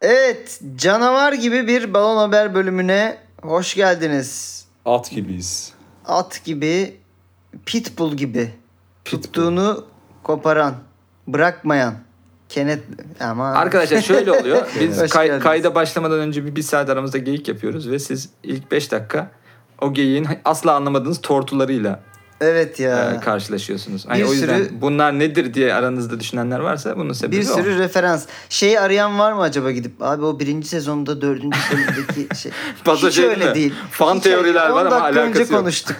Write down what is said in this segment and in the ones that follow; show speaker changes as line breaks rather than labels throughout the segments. Evet, canavar gibi bir balon haber bölümüne hoş geldiniz.
At gibiyiz.
At gibi, pitbull gibi.
Pitbull.
Tuttuğunu koparan, bırakmayan. Kenet ama
Arkadaşlar şöyle oluyor. Biz
Hoş
kay-
geldiniz.
kayda başlamadan önce bir, bir saat aramızda geyik yapıyoruz ve siz ilk 5 dakika o geyiğin asla anlamadığınız tortularıyla
Evet ya.
e, karşılaşıyorsunuz. Hani
Bir
o yüzden
sürü-
bunlar nedir diye aranızda düşünenler varsa bunun sebebi
bir
o.
sürü referans. Şeyi arayan var mı acaba gidip? Abi o birinci sezonda dördüncü bölümdeki şey.
Paso
Hiç
şey
öyle
mi?
değil.
Fan
Hiç
teoriler
öyle-
var
on
ama
dakika
alakası
önce
yok.
konuştuk.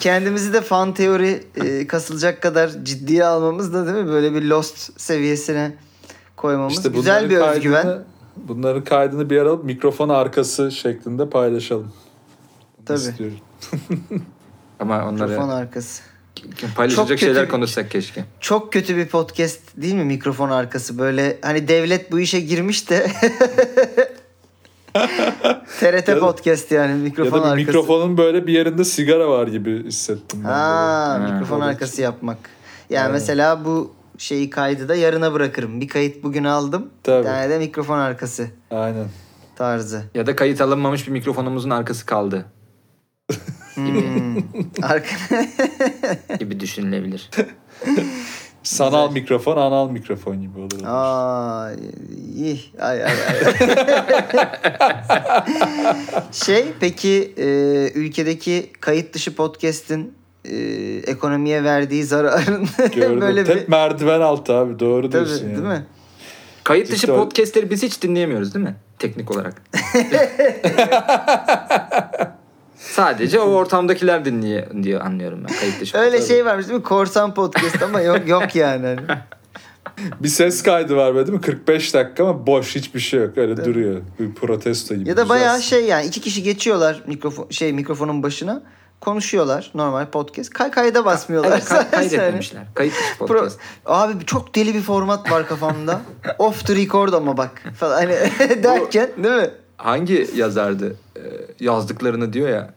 Kendimizi de fan teori e, kasılacak kadar ciddiye almamız da değil mi? Böyle bir Lost seviyesine koymamız.
İşte
Güzel
bunların
bir
kaydını-
özgüven.
Bunların kaydını bir ara alıp mikrofon arkası şeklinde paylaşalım. Bunu
Tabii.
istiyorum.
Ama onları
Mikrofon arkası. Çok
paylaşacak
kötü
şeyler
bir-
konuşsak keşke.
Çok kötü bir podcast değil mi mikrofon arkası? Böyle hani devlet bu işe girmiş de TRT
da-
podcast yani
Ya
mikrofon
da bir
arkası.
mikrofonun böyle bir yerinde sigara var gibi hissettim ben.
Ha,
Ha,
mikrofon
evet.
arkası yapmak. Yani mesela bu şeyi kaydı da yarına bırakırım. Bir kayıt bugün aldım.
Tabii.
Bir tane de mikrofon arkası
böyle. Aynen.
tarzı.
Ya da kayıt alınmamış bir mikrofonumuzun arkası kaldı
Hmm. Arka-
gibi düşünülebilir.
Sanal mikrofon, anal mikrofon gibi olur.
Aa, ih, ay, ay, ay. şey peki e, ülkedeki kayıt dışı podcast'in e, ekonomiye verdiği zararın
Gördüm.
böyle
Hep
bir
merdiven altı abi. Doğru
Tabii,
diyorsun yani.
değil mi?
Kayıt dışı
İşte o-
podcastleri biz hiç dinleyemiyoruz değil mi? Teknik olarak. Sadece o ortamdakiler dinliyor diye anlıyorum ben kayıt dışı.
Öyle
podcast.
şey varmış değil mi? Korsan podcast ama yok yok yani. Hani.
Bir ses kaydı var böyle değil mi? 45 dakika ama boş hiçbir şey yok. Öyle duruyor. Bir protesto gibi.
Ya da
Güzel.
bayağı şey yani iki kişi geçiyorlar mikrofon şey mikrofonun başına konuşuyorlar normal podcast. Kay kayda basmıyorlar.
Evet, kay-
Sadece hani
kaydetmemişler. Kayıt dışı
pro-
podcast.
Abi çok deli bir format var kafamda. Off the record ama bak falan hani derken değil mi?
Hangi yazardı? Ee, Yazdıklarını diyor ya.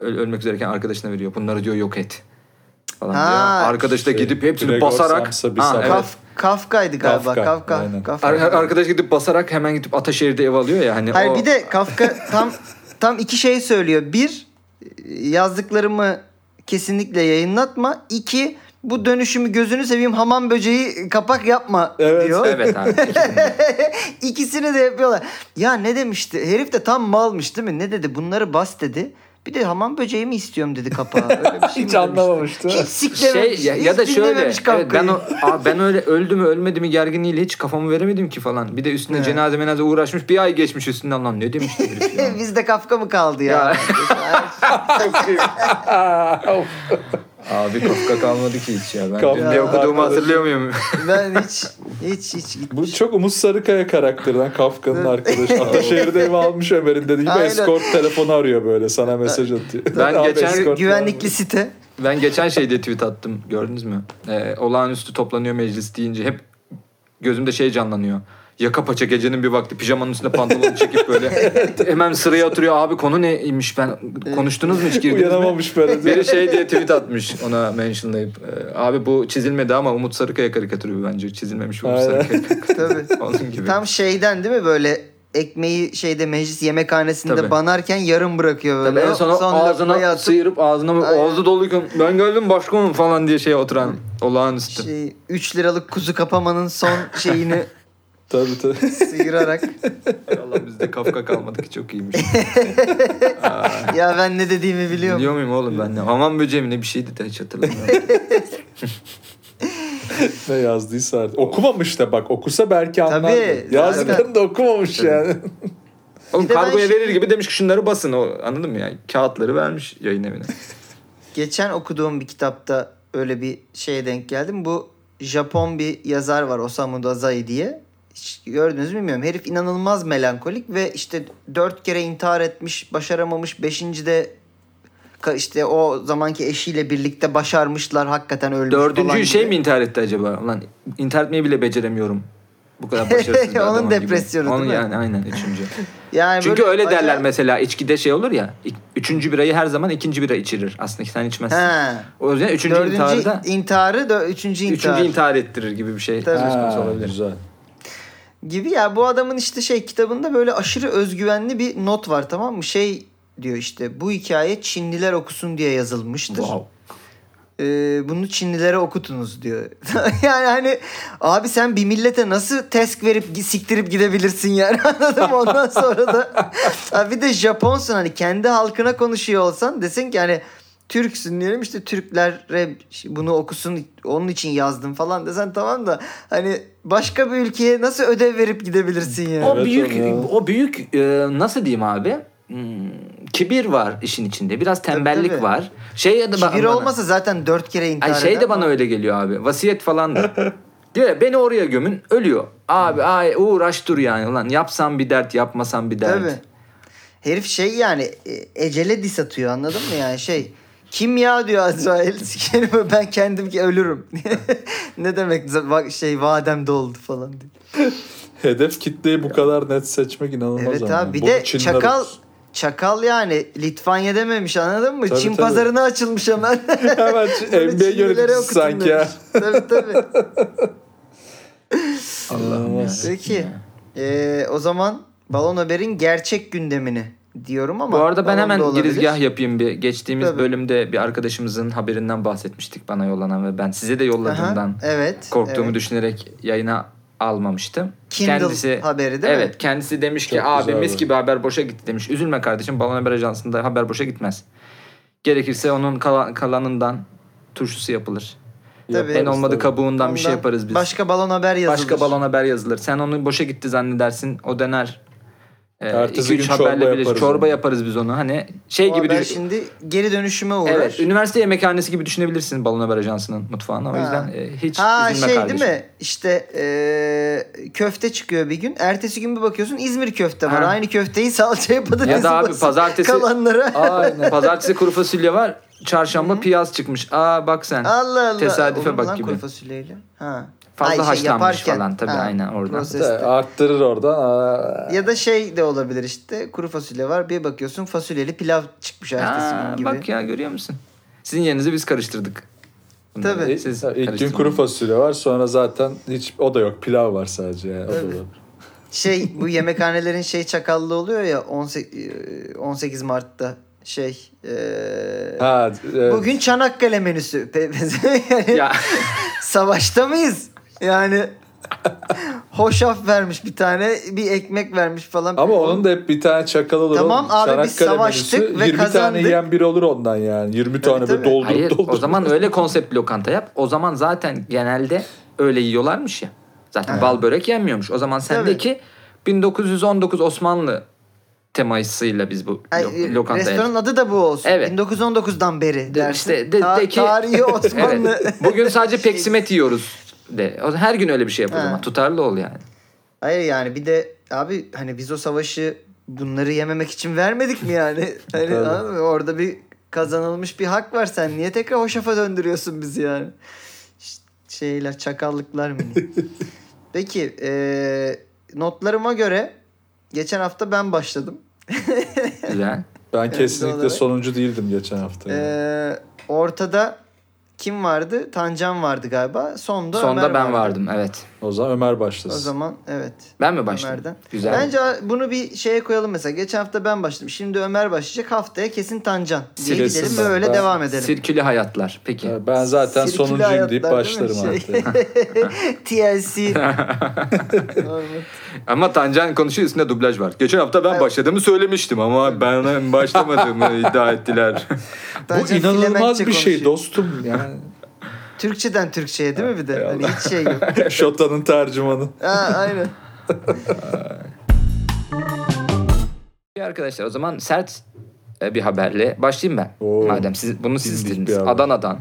öl- ölmek üzereyken arkadaşına veriyor. Bunları diyor yok et. Falan
Ha.
diyor. Arkadaş da
Şey,
gidip hepsini
Gregor
basarak.
Samsa bir
Ha,
sabah.
evet.
Kaf Kafka'ydı galiba.
Kafka,
Kafka.
aynen.
Kafka.
Ar- ar- arkadaş gidip basarak hemen gidip Ataşehir'de ev alıyor ya hani
Hayır
o
bir de Kafka tam tam iki şey söylüyor. Bir yazdıklarımı kesinlikle yayınlatma. İki bu dönüşümü gözünü seveyim hamam böceği kapak yapma
Evet.
diyor.
Evet abi.
İkisini de yapıyorlar. Ya ne demişti? Herif de tam malmış değil mi? Ne dedi? Bunları bas dedi. Bir de hamam böceği mi istiyorum dedi kapağa. Öyle bir şey mi
Hiç
demişti?
anlamamıştı.
Hiç
şey
siklememiş.
ya,
hiç
ya da şöyle
dinlememiş kafkayı.
evet, ben o, abi ben öyle öldü mü ölmedi mi gerginliğiyle hiç kafamı veremedim ki falan. Bir de üstüne
Evet.
cenaze menaze uğraşmış bir ay geçmiş üstünden lan ne demişti herif ya.
E, Bizde kafka mı kaldı ya?
Abi Kafka kalmadı ki hiç ya. Ben
Kafka
ne okuduğumu
kalmadı.
hatırlıyor muyum?
ben hiç hiç hiç gitmiş.
Bu çok Umut Sarıkaya karakterinden Kafka'nın arkadaşı. Ataşehir'de ev almış Ömer'in dediği gibi
Aynen.
eskort telefonu arıyor böyle sana mesaj atıyor.
Ben
Abi
geçen-
escort var mı?
Güvenlikli site.
ben geçen şeyde tweet attım gördünüz mü? Ee, olağanüstü toplanıyor meclis deyince hep gözümde şey canlanıyor. Yaka paça gecenin bir vakti pijamanın üstüne pantolonu çekip böyle hemen sıraya oturuyor. Abi konu neymiş ben konuştunuz mu hiç girdiniz mi?
Uyanamamış böyle. diyor.
Biri şey diye tweet atmış ona mentionlayıp. e, Abi bu çizilmedi ama Umut Sarıkaya karikatürü bence. Çizilmemiş Umut
Aynen.
Sarıkaya karikatürü.
Tabii.
Onun gibi.
Tam şeyden değil mi böyle ekmeği şeyde meclis yemekhanesinde
Tabii.
banarken yarım bırakıyor
Tabii
böyle.
en sona
Son
ağzına
lokmayı atıp
sıyırıp ağzına mı
Aynen.
ağzı doluyken ben geldim başkanım falan diye şeye oturan olağanüstü.
şey, 3 liralık kuzu kapamanın son şeyini
Tabii tabii.
sıyırarak
Allah bizde Kafka kalmadı ki çok iyiymiş.
ya ben ne dediğimi biliyorum.
Biliyor muyum oğlum ben ne? Hamam böceği mi ne bir şeydi de hiç hatırlamıyorum.
Ne yazdıysa artık. Okumamış da bak okusa belki anlardı.
Tabii, zaten.
Yazdıklarını da okumamış yani.
oğlum
Bir de ben
kargoya
şey-
verir gibi demiş ki şunları basın o anladın mı yani kağıtları vermiş yayın evine.
Geçen okuduğum bir kitapta öyle bir şeye denk geldim. Bu Japon bir yazar var Osamu Dazai diye. Hiç gördünüz mü bilmiyorum. Herif inanılmaz melankolik ve işte dört kere intihar etmiş, başaramamış. Beşinci de ka- işte o zamanki eşiyle birlikte başarmışlar. Hakikaten ölmüş falan
Dördüncü
gibi.
şey mi intihar etti acaba? Lan intihar etmeyi bile beceremiyorum. Bu kadar başarısız bir
Onun
adamım
depresyonu
gibi.
değil mi?
Onun yani aynen üçüncü.
Yani
Çünkü
böyle
öyle
bayağı-
derler mesela içkide şey olur ya. ik- Üçüncü birayı her zaman ikinci bira içirir. Aslında sen içmezsin.
He.
O yüzden üçüncü
Dördüncü
intiharı da
intiharı, da üçüncü intihar.
üçüncü intihar ettirir gibi bir şey
Tabii.
söz konusu
Ha,
olabilir.
Güzel.
gibi ya bu adamın işte şey kitabında böyle aşırı özgüvenli bir not var tamam mı? Şey diyor işte bu hikaye Çinliler okusun diye yazılmıştır.
Wow.
Ee, bunu Çinlilere okutunuz diyor. yani hani abi sen bir millete nasıl tesk verip gi- siktirip gidebilirsin yani anladın mı? Ondan sonra da Ha, bir de Japonsun hani kendi halkına konuşuyor olsan desin ki hani Türksün diyorum işte Türklere bunu okusun onun için yazdım falan desen tamam da hani başka bir ülkeye nasıl ödev verip gidebilirsin yani.
O
Evet,
büyük
onu-
o büyük e, nasıl diyeyim abi? Hmm, kibir var işin içinde. Biraz tembellik
tabii.
var. Şey ya da ba-
Kibir
bana-
olmasa zaten dört kere intihar
Ay şey
eder.
de bana öyle geliyor abi. Vasiyet falan da. Diyor ya, beni oraya gömün ölüyor. Abi ay uğraş dur yani lan yapsam bir dert yapmasam bir dert.
Tabii. Herif şey yani e, ecele dis atıyor anladın mı yani şey. Kim ya diyor Azrail sikerim ben kendim ki ölürüm. ne demek za- va- şey vadem doldu falan diye.
Hedef kitleyi bu kadar net seçmek inanılmaz
Evet
ama.
abi bir
Bu
de
Çinler-
çakal çakal yani Litvanya dememiş anladın mı?
Tabii,
Çin
tabii.
pazarına açılmış hemen.
Hemen
Böyle
NBA
Çinlilere
yöneticisi
okutun
sanki
demiş.
ya.
tabii tabii.
Allah'ım ya.
İnanılmaz.
Peki e, o zaman Balon Haber'in gerçek gündemini diyorum ama.
Bu arada ben
balon da
hemen
olabilir.
girizgah yapayım bir. Geçtiğimiz
Tabii.
bölümde bir arkadaşımızın haberinden bahsetmiştik bana yollanan ve ben size de yolladığımdan
Aha, evet.
korktuğumu
evet.
düşünerek yayına almamıştım.
Kindle haberi değil mi?
Evet, kendisi demiş ki
Çok
abi
güzel
mis
bu."
gibi haber boşa gitti demiş. Üzülme kardeşim Balon Haber Ajansı'nda haber boşa gitmez. Gerekirse onun kala- kalanından turşusu yapılır.
Tabii.
en olmadı
tabii.
kabuğundan bir şey
Ondan
yaparız biz. Başka,
Başka balon haber yazılır.
balon haber yazılır. Sen onu boşa gitti zannedersin. O döner. Ee,
Ertesi
iki, üç
gün çorba
haberle birleşir.
yaparız
Çorba
onu.
yaparız biz onu. Hani şey
O
gibi
haber
düşün.
şimdi geri dönüşüme uğrar.
Evet, üniversite yemekhanesi gibi düşünebilirsin Balon Haber Ajansı'nın mutfağını. O
Ha.
yüzden e, hiç
ha
üzülme
şey
kardeşim.
değil mi? İşte eee, köfte çıkıyor bir gün. Ertesi gün bir bakıyorsun İzmir köfte var.
Ha.
Aynı köfteyi salçaya patatesi
Ya da abi
basıp
pazartesi-
kalanlara.
Aynen. Pazartesi kuru fasulye var. Çarşamba piyaz çıkmış. Aa bak sen.
Allah Allah.
Tesadüfe
Olur mu
bak
lan
gibi.
Kuru fasulyeyle. Ha.
Fazla
Ay, şey
haşlanmış
yaparken.
falan tabii, aynen, oradan.
proseste.
Tabii, Arttırır oradan. Aa.
Ya da şey de olabilir işte kuru fasulye var bir bakıyorsun fasulyeli pilav çıkmış ertesi
Aa,
gün gibi.
bak ya görüyor musun? Sizin yerinizi biz karıştırdık. Bunları
Tabii.
siz
İlk gün
karıştırmayın.
kuru fasulye var sonra zaten hiç o da yok pilav var sadece yani. O da
Tabii.
var.
şey bu yemekhanelerin şey çakallı oluyor ya 18, 18 Mart'ta şey eee,
Ha, e, evet.
bugün Çanakkale menüsü Pe- pe- yani
Ya
savaşta mıyız yani hoşaf vermiş bir tane bir ekmek vermiş falan
Ama onun da hep bir tane çakal olur.
Tamam
oğlum.
abi,
Çanakkale
biz savaştık
menüsü,
ve
20
kazandık.
tane yiyen biri olur ondan yani. 20 tane
tabii.
böyle doldurup
hayır
doldurup.
o zaman öyle konsept lokanta yap. O zaman zaten genelde öyle yiyorlarmış ya. Zaten bal börek yenmiyormuş. O zaman sendeki 1919 Osmanlı temasıyla biz bu
Ay,
lo- lokantaya
restoranın adı da bu olsun.
Evet.
1919'dan beri
De,
dersin.
işte de,
Ta-
de ki-
tarihi Osmanlı. Şey,
Evet. Bugün sadece peksimet yiyoruz de. O- Her gün öyle bir şey yap o
Ha.
zaman. Tutarlı ol yani.
Hayır yani bir de abi hani biz o savaşı bunları yememek için vermedik mi yani? Hani
Tabii.
anladın mı? orada bir kazanılmış bir hak var sen niye tekrar hoşafa döndürüyorsun bizi yani? Ş- Şeyler çakallıklar mı? Peki eee, notlarıma göre geçen hafta ben başladım.
Güzel.
Ben
doğal
kesinlikle
olarak.
sonuncu değildim geçen hafta. yani.
Eee, ortada kim vardı? Tancan vardı galiba. Sonda,
Sonda
Ömer
ben
vardı.
vardım evet.
o zaman Ömer
O
başlasın.
zaman evet.
Ben mi başladım?
Ömer'den.
Güzel.
Bence bunu bir şeye koyalım mesela. Geçen hafta ben başladım. Şimdi Ömer başlayacak. Haftaya kesin Tancan. Diye
Silesin
gidelim
ben.
böyle
Ben-
devam edelim.
Sirküli hayatlar. Peki.
Ya Ee, Ben zaten
Sirküli
sonuncuyum deyip
hayatlar değil mi?
başlarım
Şey-
artık.
TLC.
Ama Tancan konuşuyor üstünde dublaj var. Geçen hafta ben
Evet.
başladığımı söylemiştim ama ben başlamadığımı iddia ettiler.
Bu
Tancan
inanılmaz
Flemenkçe
bir şey
konuşuyor.
dostum yani.
Türkçeden Türkçeye değil mi bir de? Hani hiç şey yok.
Şota'nın tercümanı.
Ha, aynen.
Peki Arkadaşlar o zaman sert e, bir haberle başlayayım ben.
Oo.
Madem siz, bunu siz
Dimdik
istediniz.
bir haber.
Adana'dan.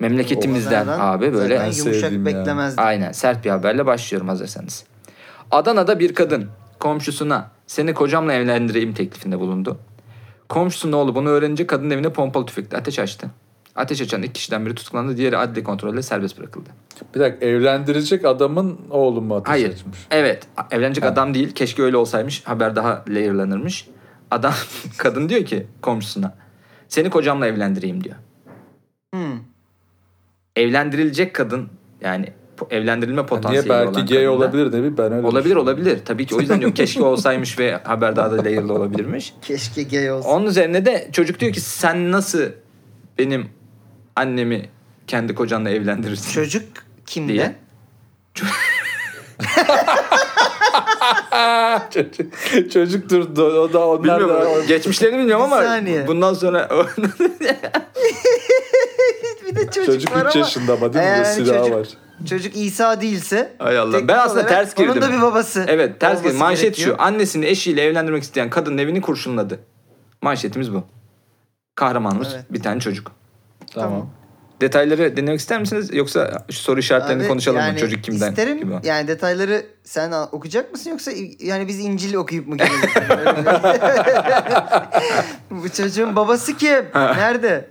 Memleketimizden
Zaten-
abi böyle.
Zaten yumuşak
sevdiğim ya.
beklemezdim.
Aynen sert bir haberle başlıyorum hazırsanız. Adana'da bir kadın komşusuna seni kocamla evlendireyim teklifinde bulundu. Komşusunun oğlu bunu öğrenince kadın evine pompalı tüfekle ateş açtı. Ateş açan iki kişiden biri tutuklandı, diğeri adli kontrolle serbest bırakıldı.
Bir dakika evlendirecek adamın oğlu mu ateş
Hayır.
açmış?
Evet. a- Evlenecek adam değil. Keşke öyle olsaymış. Haber daha layerlanırmış. Adam, kadın diyor ki komşusuna. Seni kocamla evlendireyim diyor.
Hmm.
Evlendirilecek kadın yani po- evlendirilme potansiyeli
Niye belki
olan
gay
kadında.
olabilir de bir ben öyle
Olabilir
düşünüyorum.
olabilir. Tabii ki o yüzden diyorum keşke olsaymış ve haber daha da layer'lı olabilirmiş.
Keşke gay olsa.
Onun üzerine de çocuk diyor ki sen nasıl benim annemi kendi kocanla evlendirirsin
Çocuk kimde?
diye.
Çocuk, şey- çocuk dur o da onlar
Bilmiyorum.
da
Geçmişlerini bilmiyorum
Bir
ama
saniye.
bundan sonra
Bir de çocuk,
çocuk
var
3
ama.
yaşında ama değil mi?
Eğer
Bir silahı
Ee, çocuk-
var.
Çocuk İsa değilse.
Ay Allah.
teknik
Ben aslında
olarak
ters
Onun
girdim.
da bir babası.
evet ters
olması
gel. Manşet
gerekiyor.
şu. Annesini eşiyle evlendirmek isteyen kadının evini kurşunladı. Manşetimiz bu. Kahramanımız
Evet.
bir tane çocuk.
Tamam.
Detayları dinlemek ister misiniz? Yoksa şu soru işaretlerini
Abi,
konuşalım
yani
mı? Çocuk kimden?
isterim.
gibi.
Yani detayları sen a- okuyacak mısın yoksa i- yani biz İncil okuyup mu gelelim? Bu çocuğun babası kim? Nerede?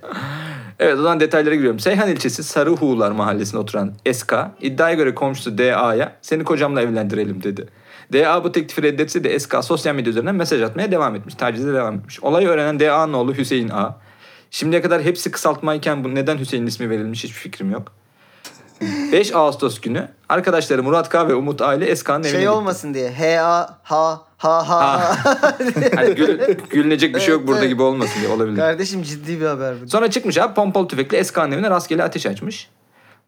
Evet o zaman detaylara giriyorum. Seyhan ilçesi Sarıhuğlar mahallesinde oturan SK iddiaya göre komşusu DA'ya seni kocamla evlendirelim dedi. DA bu teklifi reddetse de SK sosyal medya üzerinden mesaj atmaya devam etmiş. Tacize devam etmiş. Olayı öğrenen DA'nın oğlu Hüseyin A. Şimdiye kadar hepsi kısaltmayken bu neden Hüseyin ismi verilmiş hiçbir fikrim yok. 5 Ağustos günü arkadaşları Murat K ve Umut A ile SK'nın evine
Şey
gitti.
olmasın diye. H A ha ha ha.
Hani gül- gülünecek bir şey yok
Evet,
burada
evet.
gibi olmasın diye olabilir.
Kardeşim ciddi bir haber bu.
Sonra çıkmış abi pompalı tüfekle Eskan evine rastgele ateş açmış.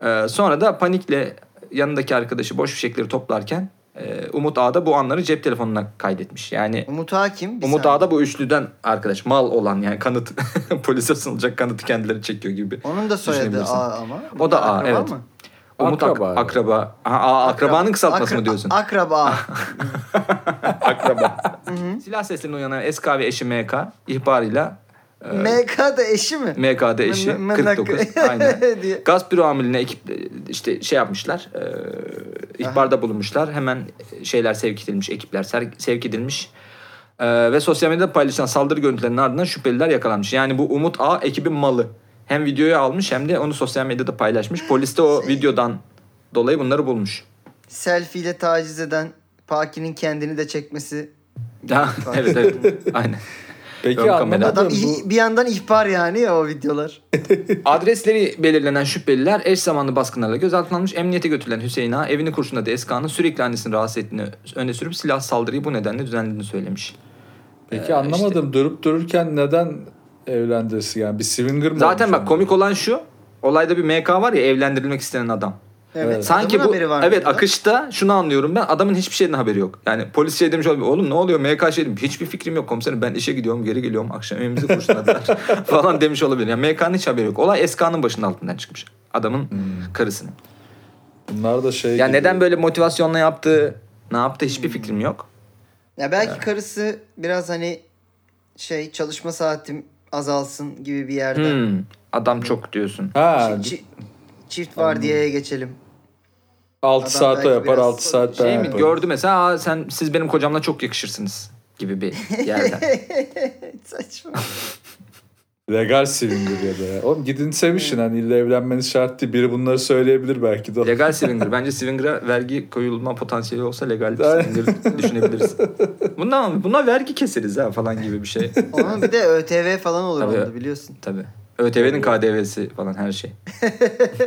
Ee, sonra da panikle yanındaki arkadaşı boş fişekleri toplarken e, Umut Ağa da bu anları cep telefonuna kaydetmiş. Yani
Umut Hakim. bir
Umut
saniye.
Ağa da bu üçlüden arkadaş mal olan yani kanıt polise sunulacak kanıtı kendileri çekiyor gibi.
Onun da soyadı
Düşünebilirsin.
A ama.
O da A,
Akraba
evet.
mı?
Umut ak-
Akraba.
akraba. Aha, Ağa, akrabanın kısaltması
Akra-
mı diyorsun?
Akraba.
akraba. Silah seslerine uyanan SK ve eşi MK ihbarıyla e,
MK da eşi mi?
MK'da eşi
M- M-
49. Aynen.
Diye.
Gaz büro amirine ekip işte şey yapmışlar. E, ihbarda bulunmuşlar. Hemen şeyler sevk edilmiş, ekipler ser- sevk edilmiş. E, ve sosyal medyada paylaşılan saldırı görüntülerinin ardından şüpheliler yakalanmış. Yani bu Umut A ekibin malı. Hem videoyu almış hem de onu sosyal medyada paylaşmış. Polis de
Şey.
o videodan dolayı bunları bulmuş.
Selfie ile taciz eden Paki'nin kendini de çekmesi.
evet evet. Aynen. Ön
Peki
kamera.
Adam
anlamadım bu.
ih- bir yandan ihbar yani ya o videolar.
Adresleri belirlenen şüpheliler eş zamanlı baskınlarla gözaltına alınmış. Emniyete götürülen Hüseyin Ağa evini kurşunladığı Eskan'ın sürekli annesini rahatsız ettiğini öne sürüp silah saldırıyı bu nedenle düzenlediğini söylemiş.
Peki anlamadım durup dururken neden evlendirsin yani bir swinger mı?
Zaten
olmuş
bak
yani?
komik olan şu. Olayda bir MK var ya evlendirilmek istenen adam.
Evet.
Sanki
Adamın
bu
haberi var
evet
mıydı?
akışta şunu anlıyorum ben adamın hiçbir şeyden haberi yok. Yani polis şey demiş olabilir. Oğlum ne oluyor MK şey demiş. Hiçbir fikrim yok komiserim ben işe gidiyorum geri geliyorum akşam evimizi kurşunladılar falan demiş olabilir. Yani MK'nın hiç haberi yok. Olay Eskan'ın başının altından çıkmış. Adamın
Hmm.
karısının.
Bunlar da şey
Ya
gibi-
neden böyle motivasyonla yaptığı, ne yaptığı hiçbir fikrim yok.
Ya belki karısı biraz hani şey çalışma saatim azalsın gibi bir yerde.
Hmm, adam çok diyorsun.
Ha,
Çi-
şey-
çi- çift var diye geçelim.
6
Adam
saat o
belki
yapar
biraz
6 saat ben
Şey mi
yaparım.
gördü mesela Aa, sen siz benim kocamla çok yakışırsınız gibi bir yerden.
Saçma.
Legal swinger ya da. ya. Oğlum gidin sevişin hani illa evlenmeniz şart değil. Biri bunları söyleyebilir belki de.
legal swinger. Bence swinger'a vergi koyulma potansiyeli olsa legal swinger düşünebiliriz. Buna, buna vergi keseriz ha falan gibi bir şey.
Onun bir de ÖTV falan olur
Tabii.
onda biliyorsun.
Tabii. ÖTV'nin KDV'si falan her şey.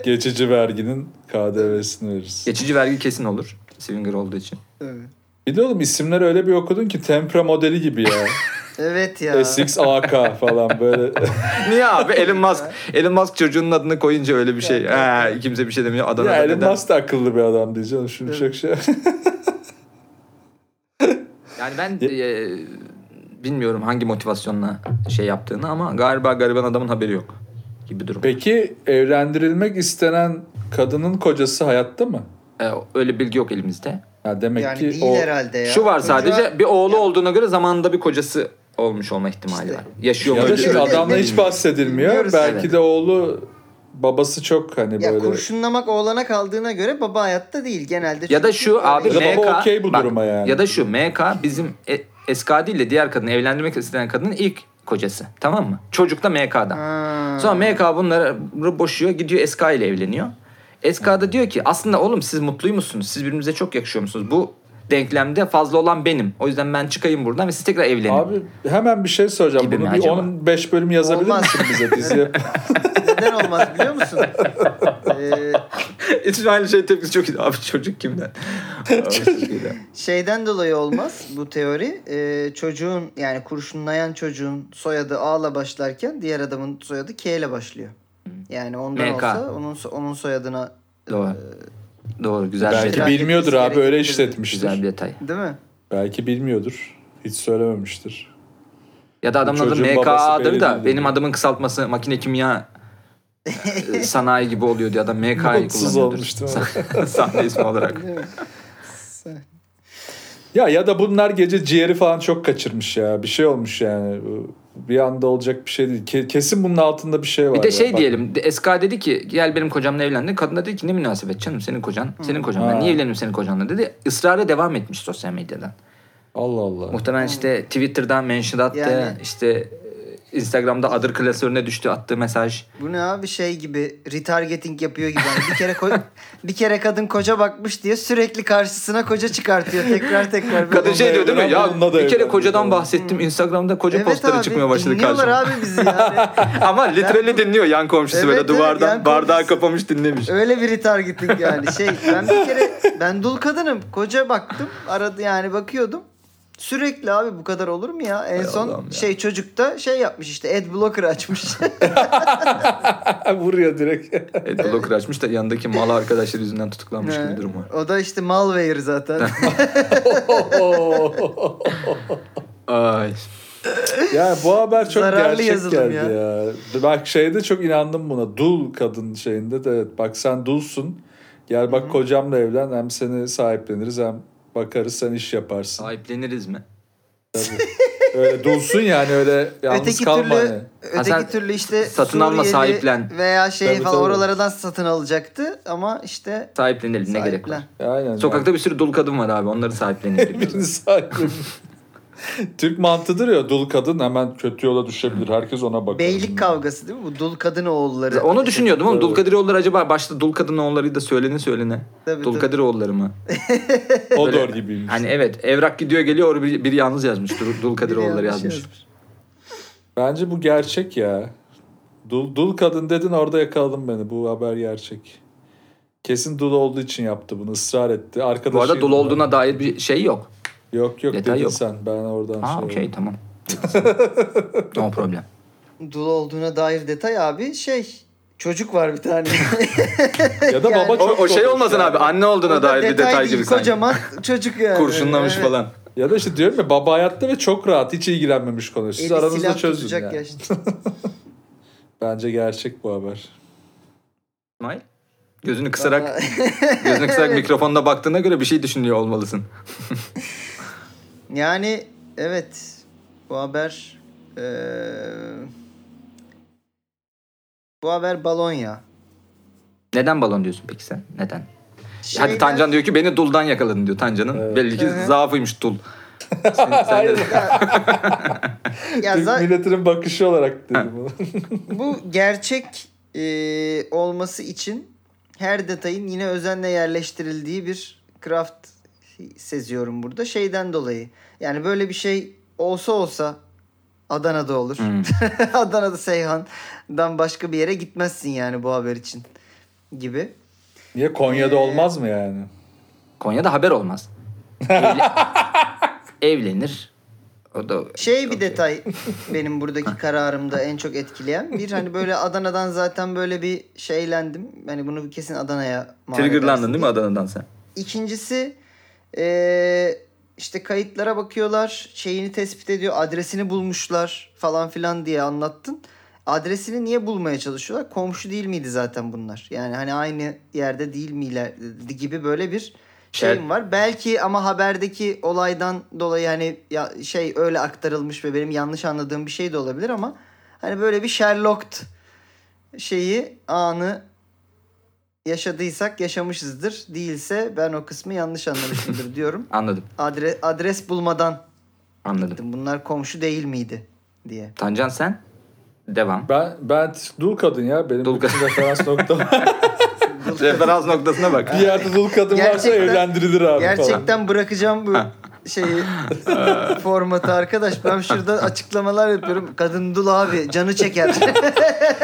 Geçici verginin KDV'sini veririz.
Geçici vergi kesin olur. Swinger olduğu için.
Evet.
Bir de oğlum isimleri öyle bir okudun ki Tempra modeli gibi ya.
Evet ya.
SXAK falan böyle.
Niye abi? Elon Musk. Elon Musk çocuğunun adını koyunca öyle bir şey. Ha, kimse bir şey demiyor. Adana'da
ya Elon
neden-
Musk da akıllı bir adam diyeceğim. Şunu çok şey.
Yani ben e, bilmiyorum hangi motivasyonla şey yaptığını ama galiba gariban adamın haberi yok gibi durum.
Peki evlendirilmek istenen kadının kocası hayatta mı?
E, öyle bilgi yok elimizde.
Ya demek
yani
ki
değil
o
herhalde ya.
Şu var
Çocuğa-
sadece bir oğlu olduğuna göre zamanında bir kocası olmuş olma ihtimali
İşte.
var. Yaşıyor mu?
ya da
Öyle-
şimdi
öyle-
adamla hiç bahsedilmiyor.
Bilmiyoruz.
Belki
Evet.
de oğlu babası çok hani
Ya
böyle.
kurşunlamak oğlana kaldığına göre baba hayatta değil genelde.
Ya
çünkü
da
öyle şey-
şu abi
Ya da baba
MK
okey bu
bak,
duruma yani.
Ya da şu MK bizim e, SK değil de diğer kadını evlendirmek istenen kadının ilk kocası. Tamam mı? Çocuk da MK'dan.
Ha.
Sonra MK bunları boşuyor gidiyor SK ile evleniyor. SK da diyor ki aslında oğlum siz mutlu musunuz? Siz birbirinize çok yakışıyor musunuz? Bu denklemde fazla olan benim. O yüzden ben çıkayım buradan ve siz tekrar evlenin.
Abi hemen bir şey soracağım.
Gibi
Bunu
mi
bir
acaba?
15 bölüm yazabilir
Olmaz.
misin bize dizi?
Neden olmaz biliyor musun? Ee,
İsmail şey tepkisi çok iyi. Abi çocuk kimden? Abi çok iyi de.
Şeyden dolayı olmaz bu teori. Ee, çocuğun yani kurşunlayan çocuğun soyadı A ile başlarken diğer adamın soyadı K ile başlıyor. Yani ondan
MK.
olsa onun so- onun soyadına
Doğru. Doğru güzel
Ee,
bir
Belki
detay.
Merak
bilmiyordur
etmesi
abi öyle
gerekir.
işletmiştir.
Güzel bir detay.
değil mi?
Belki bilmiyordur. Hiç söylememiştir.
Ya da adamın adı
Çocuğun babası belli
MKA'dır
değil.
da benim adamın kısaltması makine kimya e, sanayi gibi oluyor diye adam MK'yı
Mutsuz
kullanıyordur.
olmuştu.
Sa- Sahne ismi olarak.
Değil mi?
Ya ya da bunlar gece ciğeri falan çok kaçırmış ya. Bir şey olmuş yani. Bu Bir anda olacak bir şey değil. Ke- Kesin bunun altında bir şey var.
Bir de
ya.
şey
Bak,
diyelim. de- SK dedi ki gel benim kocamla evlendin. Kadın da dedi ki ne münasebet canım senin kocan.
Hmm.
Senin kocan.
Ha.
Ben niye evlenirim senin kocanla dedi. Israra devam etmiş sosyal medyadan.
Allah Allah.
Muhtemelen işte Twitter'dan mention attı.
Hmm. Yani-
işte e, Instagram'da adır klasörüne düştü attığı mesaj.
Bu ne abi şey gibi retargeting yapıyor gibi. Yani bir kere ko- bir kere kadın koca bakmış diye sürekli karşısına koca çıkartıyor tekrar tekrar.
Kadın şey diyor değil mi? Ya
Bununla da
bir kere
evlendim.
kocadan bahsettim. Instagram'da koca postları çıkmıyor başladı
Hmm. dinliyorlar
karşıma.
abi bizi yani.
Ama literally dinliyor yan komşusu
Evet,
böyle
evet,
duvardan.
yan
bardağı
komşusu.
kapamış dinlemiş.
Öyle bir retargeting yani. Şey ben bir kere ben dul kadınım. Koca baktım. Aradı yani bakıyordum. Sürekli abi bu kadar olur mu ya? En
Hay
son
Allah'ım ya.
şey çocukta şey yapmış işte ad blocker açmış.
Vuruyor direkt.
Evet, Locker açmış da yanındaki mal arkadaşları yüzünden tutuklanmış gibi bir durum var.
o da işte malware zaten.
Ay.
ya bu haber çok
Zararlı
gerçek
yazılım
geldi
ya.
ya. Bak şeyde çok inandım buna. Dul kadın şeyinde de evet, bak sen dulsun. Gel bak kocamla evlen. Hem seni sahipleniriz hem bakarız sen iş yaparsın.
Sahipleniriz mi?
Öyle dulsun yani öyle yalnız
öteki
kalma.
türlü
hani.
Ha,
öteki
sen
türlü işte
satın alma,
Suriyeli
sahiplen.
veya şey
Tabii,
falan
tabii.
oralardan satın alacaktı ama işte
Sahiplenelim ne gerek
sahiplen.
var?
Aynen.
Sokakta bir sürü dul kadın var abi onları sahiplenelim.
Birini sahibim. Türk mantığıdır ya dul kadın hemen kötü yola düşebilir. Herkes ona bakar.
Beylik kavgası değil mi? Bu dul kadın oğulları.
Onu düşünüyordum ama Dulkadiroğulları acaba başta Dulkadinoğulları da söylene söylene.
Tabii,
Dulkadiroğulları mı?
Odor
Böyle-
gibiymiş.
Hani evet evrak gidiyor geliyor orada bir, biri yalnız yazmış. Dul- Dulkadiroğulları
Biri yanlış
yazmış.
yazmış.
Bence bu gerçek ya. Dul, dul kadın dedin orada yakaladın beni. Bu haber gerçek. Kesin dul olduğu için yaptı bunu. ısrar etti. Arkadaşı
Bu arada dul olduğuna dair bir şey yok.
Yok yok
Detay
dedin
yok.
sen. Ben oradan
Ha
şey
okey tamam. no problem.
Dul olduğuna dair detay abi şey çocuk var bir tane.
Ya da
Yani-
baba
O,
çok
o şey
dolu.
olmasın abi anne
O
olduğuna
da
dair bir detay
değil,
gibi sanki.
Kocaman çocuk yani.
Kurşunlamış
Evet.
falan.
Ya da işte diyorum ya baba hayatta ve çok rahat. Hiç ilgilenmemiş konu. Siz
Eli
aranızda
silah
çözün
tutacak
yani.
yaşta.
Bence gerçek bu haber.
İsmail. Gözünü kısarak
Vallahi-
gözünü kısarak mikrofonda baktığına göre bir şey düşünüyor olmalısın.
yani evet bu haber eee, bu haber balon ya.
Neden balon diyorsun peki sen? Neden? Hadi
Şeyden-
Tancan diyor ki beni duldan yakaladın diyor Tancan'ın.
Şey Evet.
Belli ki
Hı hı.
zaafıymış dul. Sen- sen de-
Ya
Türk
za-
milletinin bakışı olarak dedim bunu.
bu gerçek eee, olması için her detayın yine özenle yerleştirildiği bir craft seziyorum burada. Şeyden dolayı. Yani böyle bir şey olsa olsa Adana'da olur.
Hmm.
Adana'da Seyhan'dan başka bir yere gitmezsin yani bu haber için gibi.
Niye Konya'da
Ee,
olmaz mı yani?
Konya'da haber olmaz. Evle- Evlenir. O da
Şey bir
okey.
detay benim buradaki kararımda en çok etkileyen. Bir hani böyle Adana'dan zaten böyle bir şeylendim. Hani bunu kesin Adana'ya mal edersin
Triggerlandın
diye.
değil mi Adana'dan sen?
İkincisi eee, işte kayıtlara bakıyorlar. Şeyini tespit ediyor. Adresini bulmuşlar falan filan diye anlattın. Adresini niye bulmaya çalışıyorlar? Komşu değil miydi zaten bunlar? Yani hani aynı yerde değil miler gibi böyle bir şeyim
Şey-
var. Belki ama haberdeki olaydan dolayı hani ya şey öyle aktarılmış ve benim yanlış anladığım bir şey de olabilir ama hani böyle bir Sherlock şeyi anı yaşadıysak yaşamışızdır. Değilse ben o kısmı yanlış anlamışımdır diyorum.
Anladım.
Adre, adres bulmadan
Anladım.
bunlar komşu değil miydi diye.
Tancan sen? Devam.
Ben ben dul kadın ya. Benim
Dul
bütün referans noktam.
Referans noktasına bak.
bir yerde dul kadın varsa
Gerçekten-
evlendirilir abi falan.
Gerçekten bırakacağım bu şeyi formatı arkadaş. Ben şurada açıklamalar yapıyorum. Kadın dul abi canı çeker.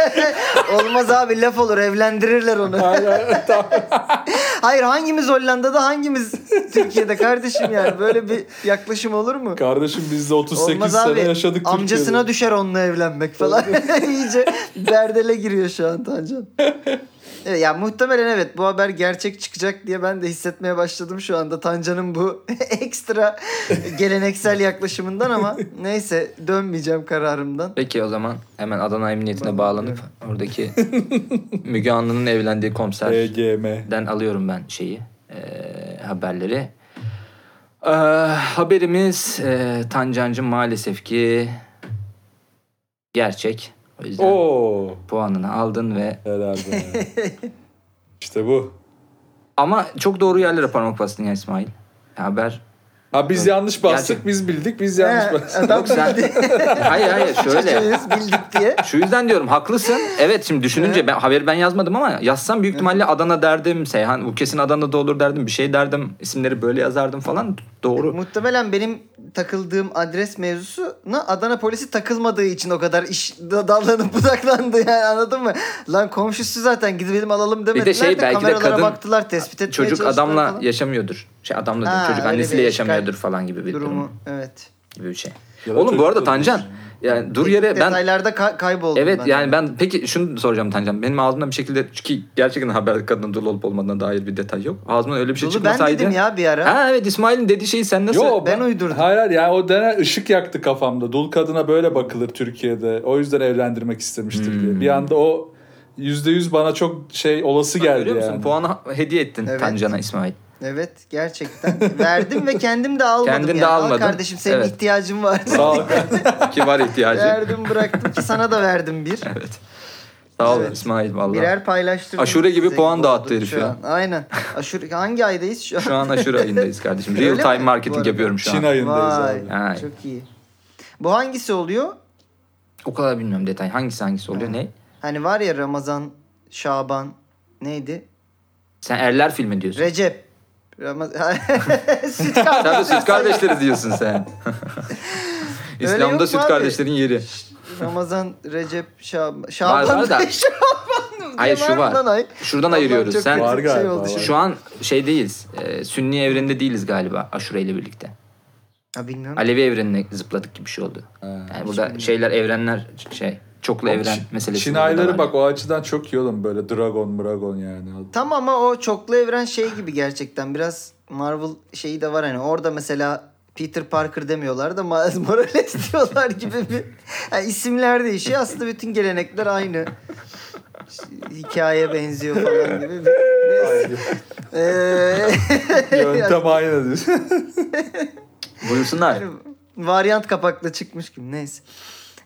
Olmaz abi laf olur evlendirirler onu.
Aynen, tamam.
Hayır hangimiz Hollanda'da hangimiz Türkiye'de kardeşim yani böyle bir yaklaşım olur mu?
Kardeşim biz de 38
Olmaz
sene
abi.
yaşadık
Amcasına
Türkiye'de.
düşer onunla evlenmek falan. İyice derdele giriyor şu an Tancan. Evet, ya muhtemelen evet bu haber gerçek çıkacak diye ben de hissetmeye başladım şu anda Tancan'ın bu ekstra geleneksel yaklaşımından ama neyse dönmeyeceğim kararımdan.
Peki o zaman hemen Adana Emniyetine bağlanıp oradaki Müge Anlı'nın evlendiği
E Ee,
komiser
EGM.
den alıyorum ben şeyi eee, haberleri. Eee, haberimiz eee Tancancı maalesef ki gerçek. O yüzden
Oo
puanını aldın ve
herhalde. işte bu.
ama çok doğru yerlere parmak bastın ya İsmail. Haber.
Ha biz yanlış bastık,
Gerçek.
biz bildik, biz yanlış
He,
bastık.
E, adam
Sen- hayır hayır şöyle.
çocuğuyuz, bildik diye.
Şu yüzden diyorum haklısın. Evet şimdi düşününce ben, haberi ben yazmadım ama yazsam büyük ihtimalle Adana derdim. Seyhan bu kesin Adana'da olur derdim. Bir şey derdim. İsimleri böyle yazardım falan. Doğru.
Muhtemelen benim takıldığım adres mevzusuna Adana polisi takılmadığı için o kadar iş da- dallanıp budaklandı yani anladın mı? Lan komşusu zaten gidelim alalım demediler de,
şey, belki de
kameralara
kadın-
baktılar tespit etmeye
Çocuk
çalıştılar
adamla
falan.
yaşamıyordur. Şey adamla değil,
Ha,
çocuk
öyle
annesiyle
bir
yaşamıyordur
işgal
falan gibi bir
durumu
durum
evet.
gibi bir şey.
Ya da
Oğlum bu arada
çocuk da
Tancan yani dur yere ben
Detaylarda ka- kayboldum
Evet
ben.
yani ben peki şunu soracağım Tancan. Benim ağzımdan bir şekilde ki gerçekten haber kadının dolu olup olmadığına dair bir detay yok. Ağzımdan öyle bir şey
Dolu ben
çıkmasaydı.
dedim ya bir ara.
Ha evet İsmail'in dediği şeyi sen nasıl?
Yo,
Ben uydurdum.
Hayır hayır yani o denen ışık yaktı kafamda. Dul kadına böyle bakılır Türkiye'de. O yüzden evlendirmek istemiştir diye. Bir anda o %100 bana çok şey olası
Bak,
geldi
Görüyor musun?
yani.
Puanı ha- hediye ettin
Evet.
Tancan'a İsmail.
Evet gerçekten. Verdim ve kendim de almadım.
Kendin de
yani. Al
almadın.
kardeşim senin
Evet.
ihtiyacın var.
Sağ ol.
Ki var ihtiyacı.
verdim bıraktım ki sana da verdim bir.
evet. Sağ ol
Evet.
İsmail valla.
Birer paylaştırdım.
Aşure gibi
size
puan
oldu
dağıttı herif
şu
ya.
an. Aynen. Aşure, hangi aydayız şu an?
Şu an aşure ayındayız kardeşim.
Öyle
Real time
mi? Bu
marketing
arada.
yapıyorum şu
Çin
an.
ayındayız
Vay.
abi.
Ay.
Çok iyi. Bu hangisi oluyor?
O kadar bilmiyorum detay. Hangisi hangisi oluyor ne?
Hani var ya Ramazan, Şaban, neydi?
Sen erler filmi diyorsun.
Recep. Ramazan. süt kardeş.
Sen de süt kardeşleri diyorsun sen.
yok mu
İslam'da süt
abi?
kardeşlerin yeri.
Ramazan, Recep, Şaban.
Var,
Şaban.
var da.
Şaban. mı?
Hayır,
Diye
şu
mı
var.
lan ay?
Şuradan
Allah'ım
ayırıyoruz.
çok
Sen
kötü
Var
bir
galiba,
oldu şimdi.
var.
Şu an şey değiliz. e, sünni evrende değiliz galiba Aşure ile birlikte.
Ha, bilmiyorum.
Alevi evrenine zıpladık gibi bir şey oldu. Yani burada şeyler evrenler şey çoklu evren
Çin-
meselesi.
Çin
burada
ayları
var.
bak o açıdan çok iyi oğlum böyle dragon dragon yani.
Tam ama o çoklu evren şey gibi gerçekten. Biraz Marvel şeyi de var hani. Orada mesela Peter Parker demiyorlar da Miles Morales diyorlar gibi bir yani isimler değişiyor. Aslında bütün gelenekler aynı. Hikaye benziyor falan gibi. bir- Neyse. Ee,
Yöntem aynı diyorsun.
Buyursunlar.
yani varyant kapakla çıkmış gibi. Neyse.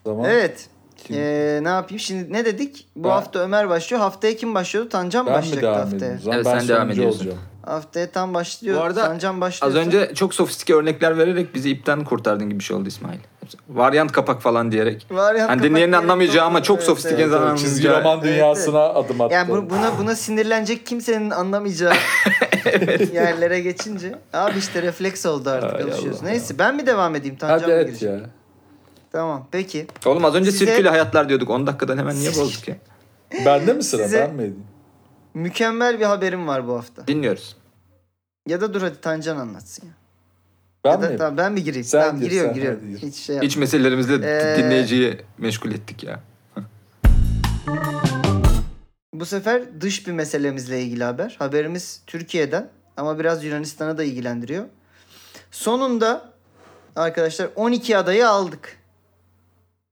Tamam.
Evet.
Kim?
Ee, ne yapayım? Şimdi ne dedik? Bu
Ben-
hafta Ömer başlıyor. Haftaya kim başlıyordu? Tancan mı
Ben mi
başlayacaktı
devam
haftaya?
edeyim? O zaman
Evet,
ben
sen devam
sonuncu
ediyorsun.
olacağım.
Haftaya tam başlıyor.
Bu arada
Sancan başlıyor.
Az önce çok sofistike örnekler vererek bizi ipten kurtardın gibi bir şey oldu İsmail. Varyant kapak falan diyerek.
Varyant
hani
kapak
dinleyenin
diyerek
anlamayacağı ama
doğru.
çok
Evet,
sofistike
evet.
zaman.
Çizgi roman dünyasına adım attım.
yani bu- buna buna sinirlenecek kimsenin anlamayacağı yerlere geçince abi işte refleks oldu artık
Ay
alışıyoruz.
Allah
Neyse ben mi devam edeyim Tancan
Hadi
mı
et
girecek?
ya.
Tamam peki.
Oğlum az önce
Size-
sirküli hayatlar diyorduk. 10 dakikadan hemen niye bozduk ya?
Bende mi sıra?
Size-
Ben miydim?
Mükemmel bir haberim var bu hafta.
Dinliyoruz.
Ya da dur hadi Tancan anlatsın ya.
Ben
ya da,
miyim?
tamam ben mi gireyim?
Sen
tamam
gir,
giriyor
sen
giriyor.
hadi gir.
Hiç şey yapma.
İç meselelerimizle
Ee,
dinleyiciyi meşgul ettik ya.
Bu sefer dış bir meselemizle ilgili haber. Haberimiz Türkiye'den ama biraz Yunanistan'a da ilgilendiriyor. Sonunda arkadaşlar 12 adayı aldık.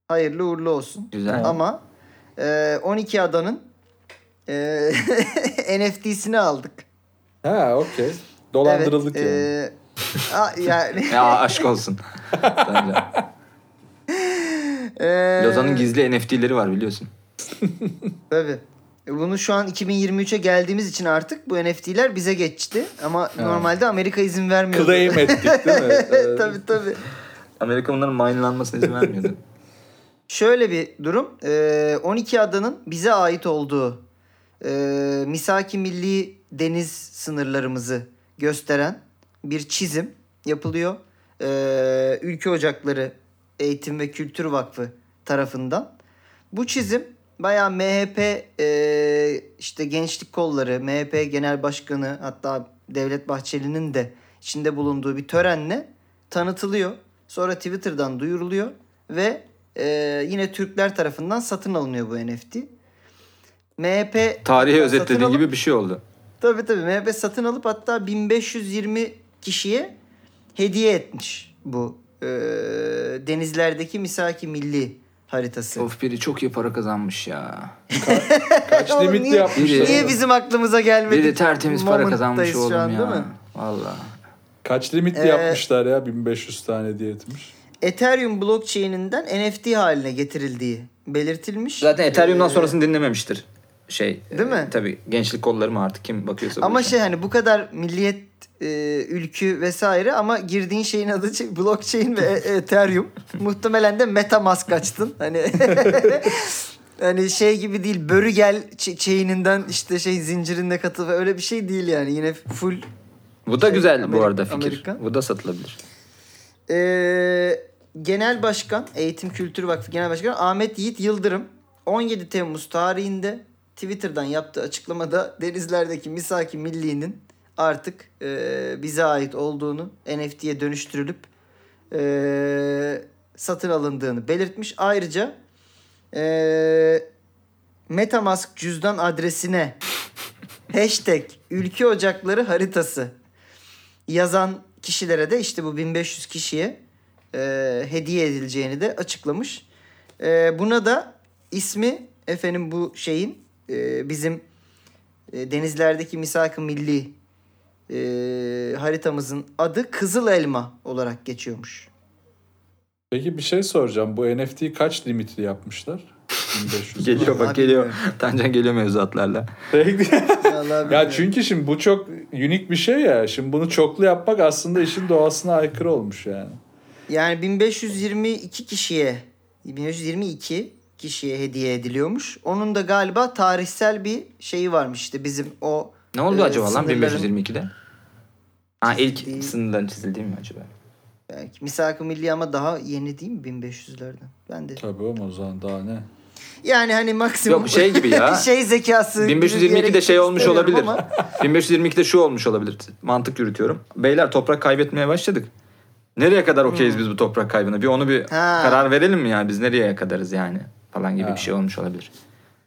Hayırlı uğurlu olsun.
Güzel.
Ama e, 12 adanın e, NFT'sini aldık.
Ha okey. Dolandırıldık
evet,
yani.
e, a- yani.
Ya aşk olsun. Bence.
e,
Lozan'ın gizli NFT'leri var biliyorsun.
Tabii. E, Bunu şu an 2023'e geldiğimiz için artık bu NFT'ler bize geçti. Ama normalde Amerika izin vermiyordu.
Claim ettik değil mi? Ee,
tabii tabii.
Amerika bunların minelanmasına izin vermiyordu.
Şöyle bir durum. Ee, 12 adanın bize ait olduğu e, misaki milli deniz sınırlarımızı gösteren bir çizim yapılıyor. e, Ülke Ocakları Eğitim ve Kültür Vakfı tarafından. Bu çizim bayağı MHP e, işte gençlik kolları, MHP Genel Başkanı hatta Devlet Bahçeli'nin de içinde bulunduğu bir törenle tanıtılıyor. Sonra Twitter'dan duyuruluyor ve e, yine Türkler tarafından satın alınıyor bu NFT. MHP
Tarihe
satın
özetlediğin
alıp-
gibi bir şey oldu.
Tabii tabii MHP satın alıp hatta 1520 kişiye hediye etmiş bu e, denizlerdeki Misaki Milli haritası.
Of biri çok iyi para kazanmış ya.
Kaç
Oğlum
limitli
niye-
yapmışlar?
Niye bizim aklımıza gelmedi?
Biri tertemiz para
Moment'tayız
kazanmış
şu
oğlum
an, değil
ya.
mi?
Valla.
Kaç limitli
Ee,
yapmışlar ya 1500 tane diye etmiş.
Ethereum blockchain'inden NFT haline getirildiği belirtilmiş.
Zaten Ethereum'dan
Ee,
sonrasını dinlememiştir. Şey.
Değil mi?
Tabii gençlik kolları mı artık kim bakıyorsa. bu
Ama
işe.
şey hani bu kadar milliyet e, ülkü vesaire ama girdiğin şeyin adı şey- blockchain ve e- Ethereum. Muhtemelen de MetaMask açtın. Hani hani şey gibi değil Börügel ç- chain'inden işte şey zincirinde katıl öyle bir şey değil yani. Yine full
Bu da
şey,
güzel bu
Amerika-
arada fikir.
Amerika.
Bu da satılabilir.
Ee, Genel Başkan, Eğitim Kültür Vakfı Genel Başkanı Ahmet Yiğit Yıldırım 17 Temmuz tarihinde Twitter'dan yaptığı açıklamada denizlerdeki misaki milliğinin artık e, bize ait olduğunu NFT'ye dönüştürülüp e, satın alındığını belirtmiş. Ayrıca e, Metamask cüzdan adresine hashtag ülke ocakları haritası yazan kişilere de işte bu 1500 kişiye e, hediye edileceğini de açıklamış. E, buna da ismi efendim bu şeyin e, bizim e, denizlerdeki misak-ı milli e, haritamızın adı Kızıl Elma olarak geçiyormuş.
Peki bir şey soracağım. Bu NFT'yi kaç limitli yapmışlar? 1500.
Geliyor
Vallahi
bak geliyor.
bilmiyorum.
Tancan geliyor mevzuatlarla.
Vallahi
ya
bilmiyorum.
çünkü şimdi bu çok unik bir şey ya. Şimdi bunu çoklu yapmak aslında işin doğasına aykırı olmuş yani.
Yani 1522 kişiye 1522 kişiye hediye ediliyormuş. Onun da galiba tarihsel bir şeyi varmış işte bizim o
Ne oldu
Ee,
acaba lan
sınırların-
1522'de? Ha ilk
Çizildiği-
sınırdan çizildi mi acaba?
belki misak-ı milli ama daha yeni değil mi 1500'lerden? Ben de.
Tabii oğlum o zaman daha ne?
Yani hani maksimum
Yok, şey gibi ya.
şey zekası. gibi bir yere
1522'de şey
gitmek
olmuş
istemiyorum
olabilir.
ama
1522'de şu olmuş olabilir. Mantık yürütüyorum. Beyler toprak kaybetmeye başladık. Nereye kadar okeyiz biz bu toprak kaybına? Bir onu bir
Hmm. Ha.
karar verelim mi yani? Biz nereye kadarız yani? Falan gibi
Ha.
bir şey olmuş olabilir.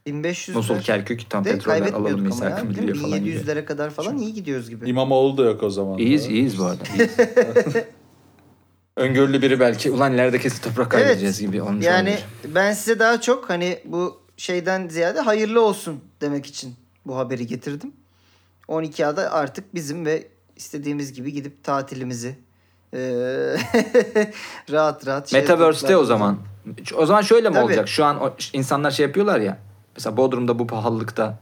1500
Musul, Kerkük, tam
de
petroller alalım
kaybetmiyorduk ama
misak
ya. değil mi?
milli falan gibi.
700'lere kadar falan iyi gidiyoruz gibi.
İmamoğlu da yok o zaman.
İyiyiz iyiyiz bu arada. iyiyiz. Öngörülü biri belki ulan ileride kesin toprak kaybedeceğiz gibi olmuş
Yani
olabilir.
ben size daha çok hani bu şeyden ziyade hayırlı olsun demek için bu haberi getirdim. 12 ada artık bizim ve istediğimiz gibi gidip tatilimizi eee, rahat rahat şey
Metaverse'te o
yapacaklar.
zaman. O zaman şöyle mi
Tabii.
olacak? Şu an o- insanlar şey yapıyorlar ya. Mesela Bodrum'da bu pahalılıkta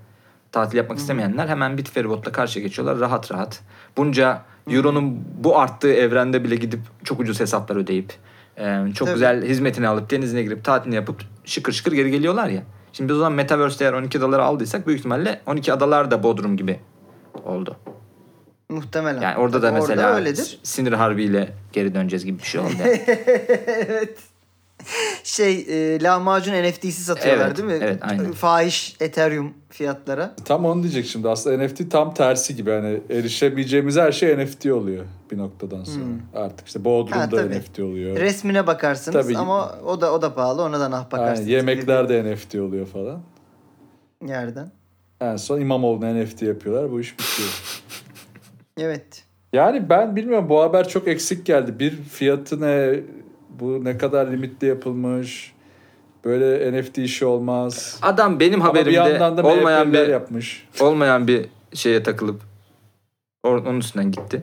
tatil yapmak istemeyenler hemen Bitferibot'la karşıya geçiyorlar rahat rahat. Bunca Euro'nun bu arttığı evrende bile gidip çok ucuz hesaplar ödeyip e, çok
Tabii.
güzel hizmetini alıp denizine girip tatilini yapıp şıkır şıkır geri geliyorlar ya. Şimdi biz o zaman Metaverse'de eğer 12 adaları aldıysak büyük ihtimalle 12 adalar da Bodrum gibi oldu.
Muhtemelen.
Yani orada da
Tabii
mesela
öyledir.
sinir harbiyle geri döneceğiz gibi bir şey oldu. yani.
Şey eee, lahmacun NFT'si satıyorlar
Evet,
değil mi?
evet, aynen.
Fahiş Ethereum fiyatlara.
Tam onu diyecek şimdi. Aslında NFT tam tersi gibi. Hani erişemeyeceğimiz her şey NFT oluyor bir noktadan sonra. Artık işte
Hmm. Ha,
Bodrum'da
tabii.
NFT oluyor.
Resmine bakarsınız
Tabii.
ama o da o da pahalı ona da nah
Aynen,
bakarsınız.
yemekler de NFT oluyor falan.
Bir Yerden.
En son İmamoğlu'na NFT yapıyorlar. Bu iş bitiyor.
Evet.
Yani ben bilmiyorum bu haber çok eksik geldi. Bir fiyatı ne, bu ne kadar limitli yapılmış, böyle NFT işi olmaz.
Adam benim
Ama bir
haberimde
yandan da
olmayan
MHP'liler
bir
yapmış.
olmayan bir şeye takılıp or- onun üstünden gitti.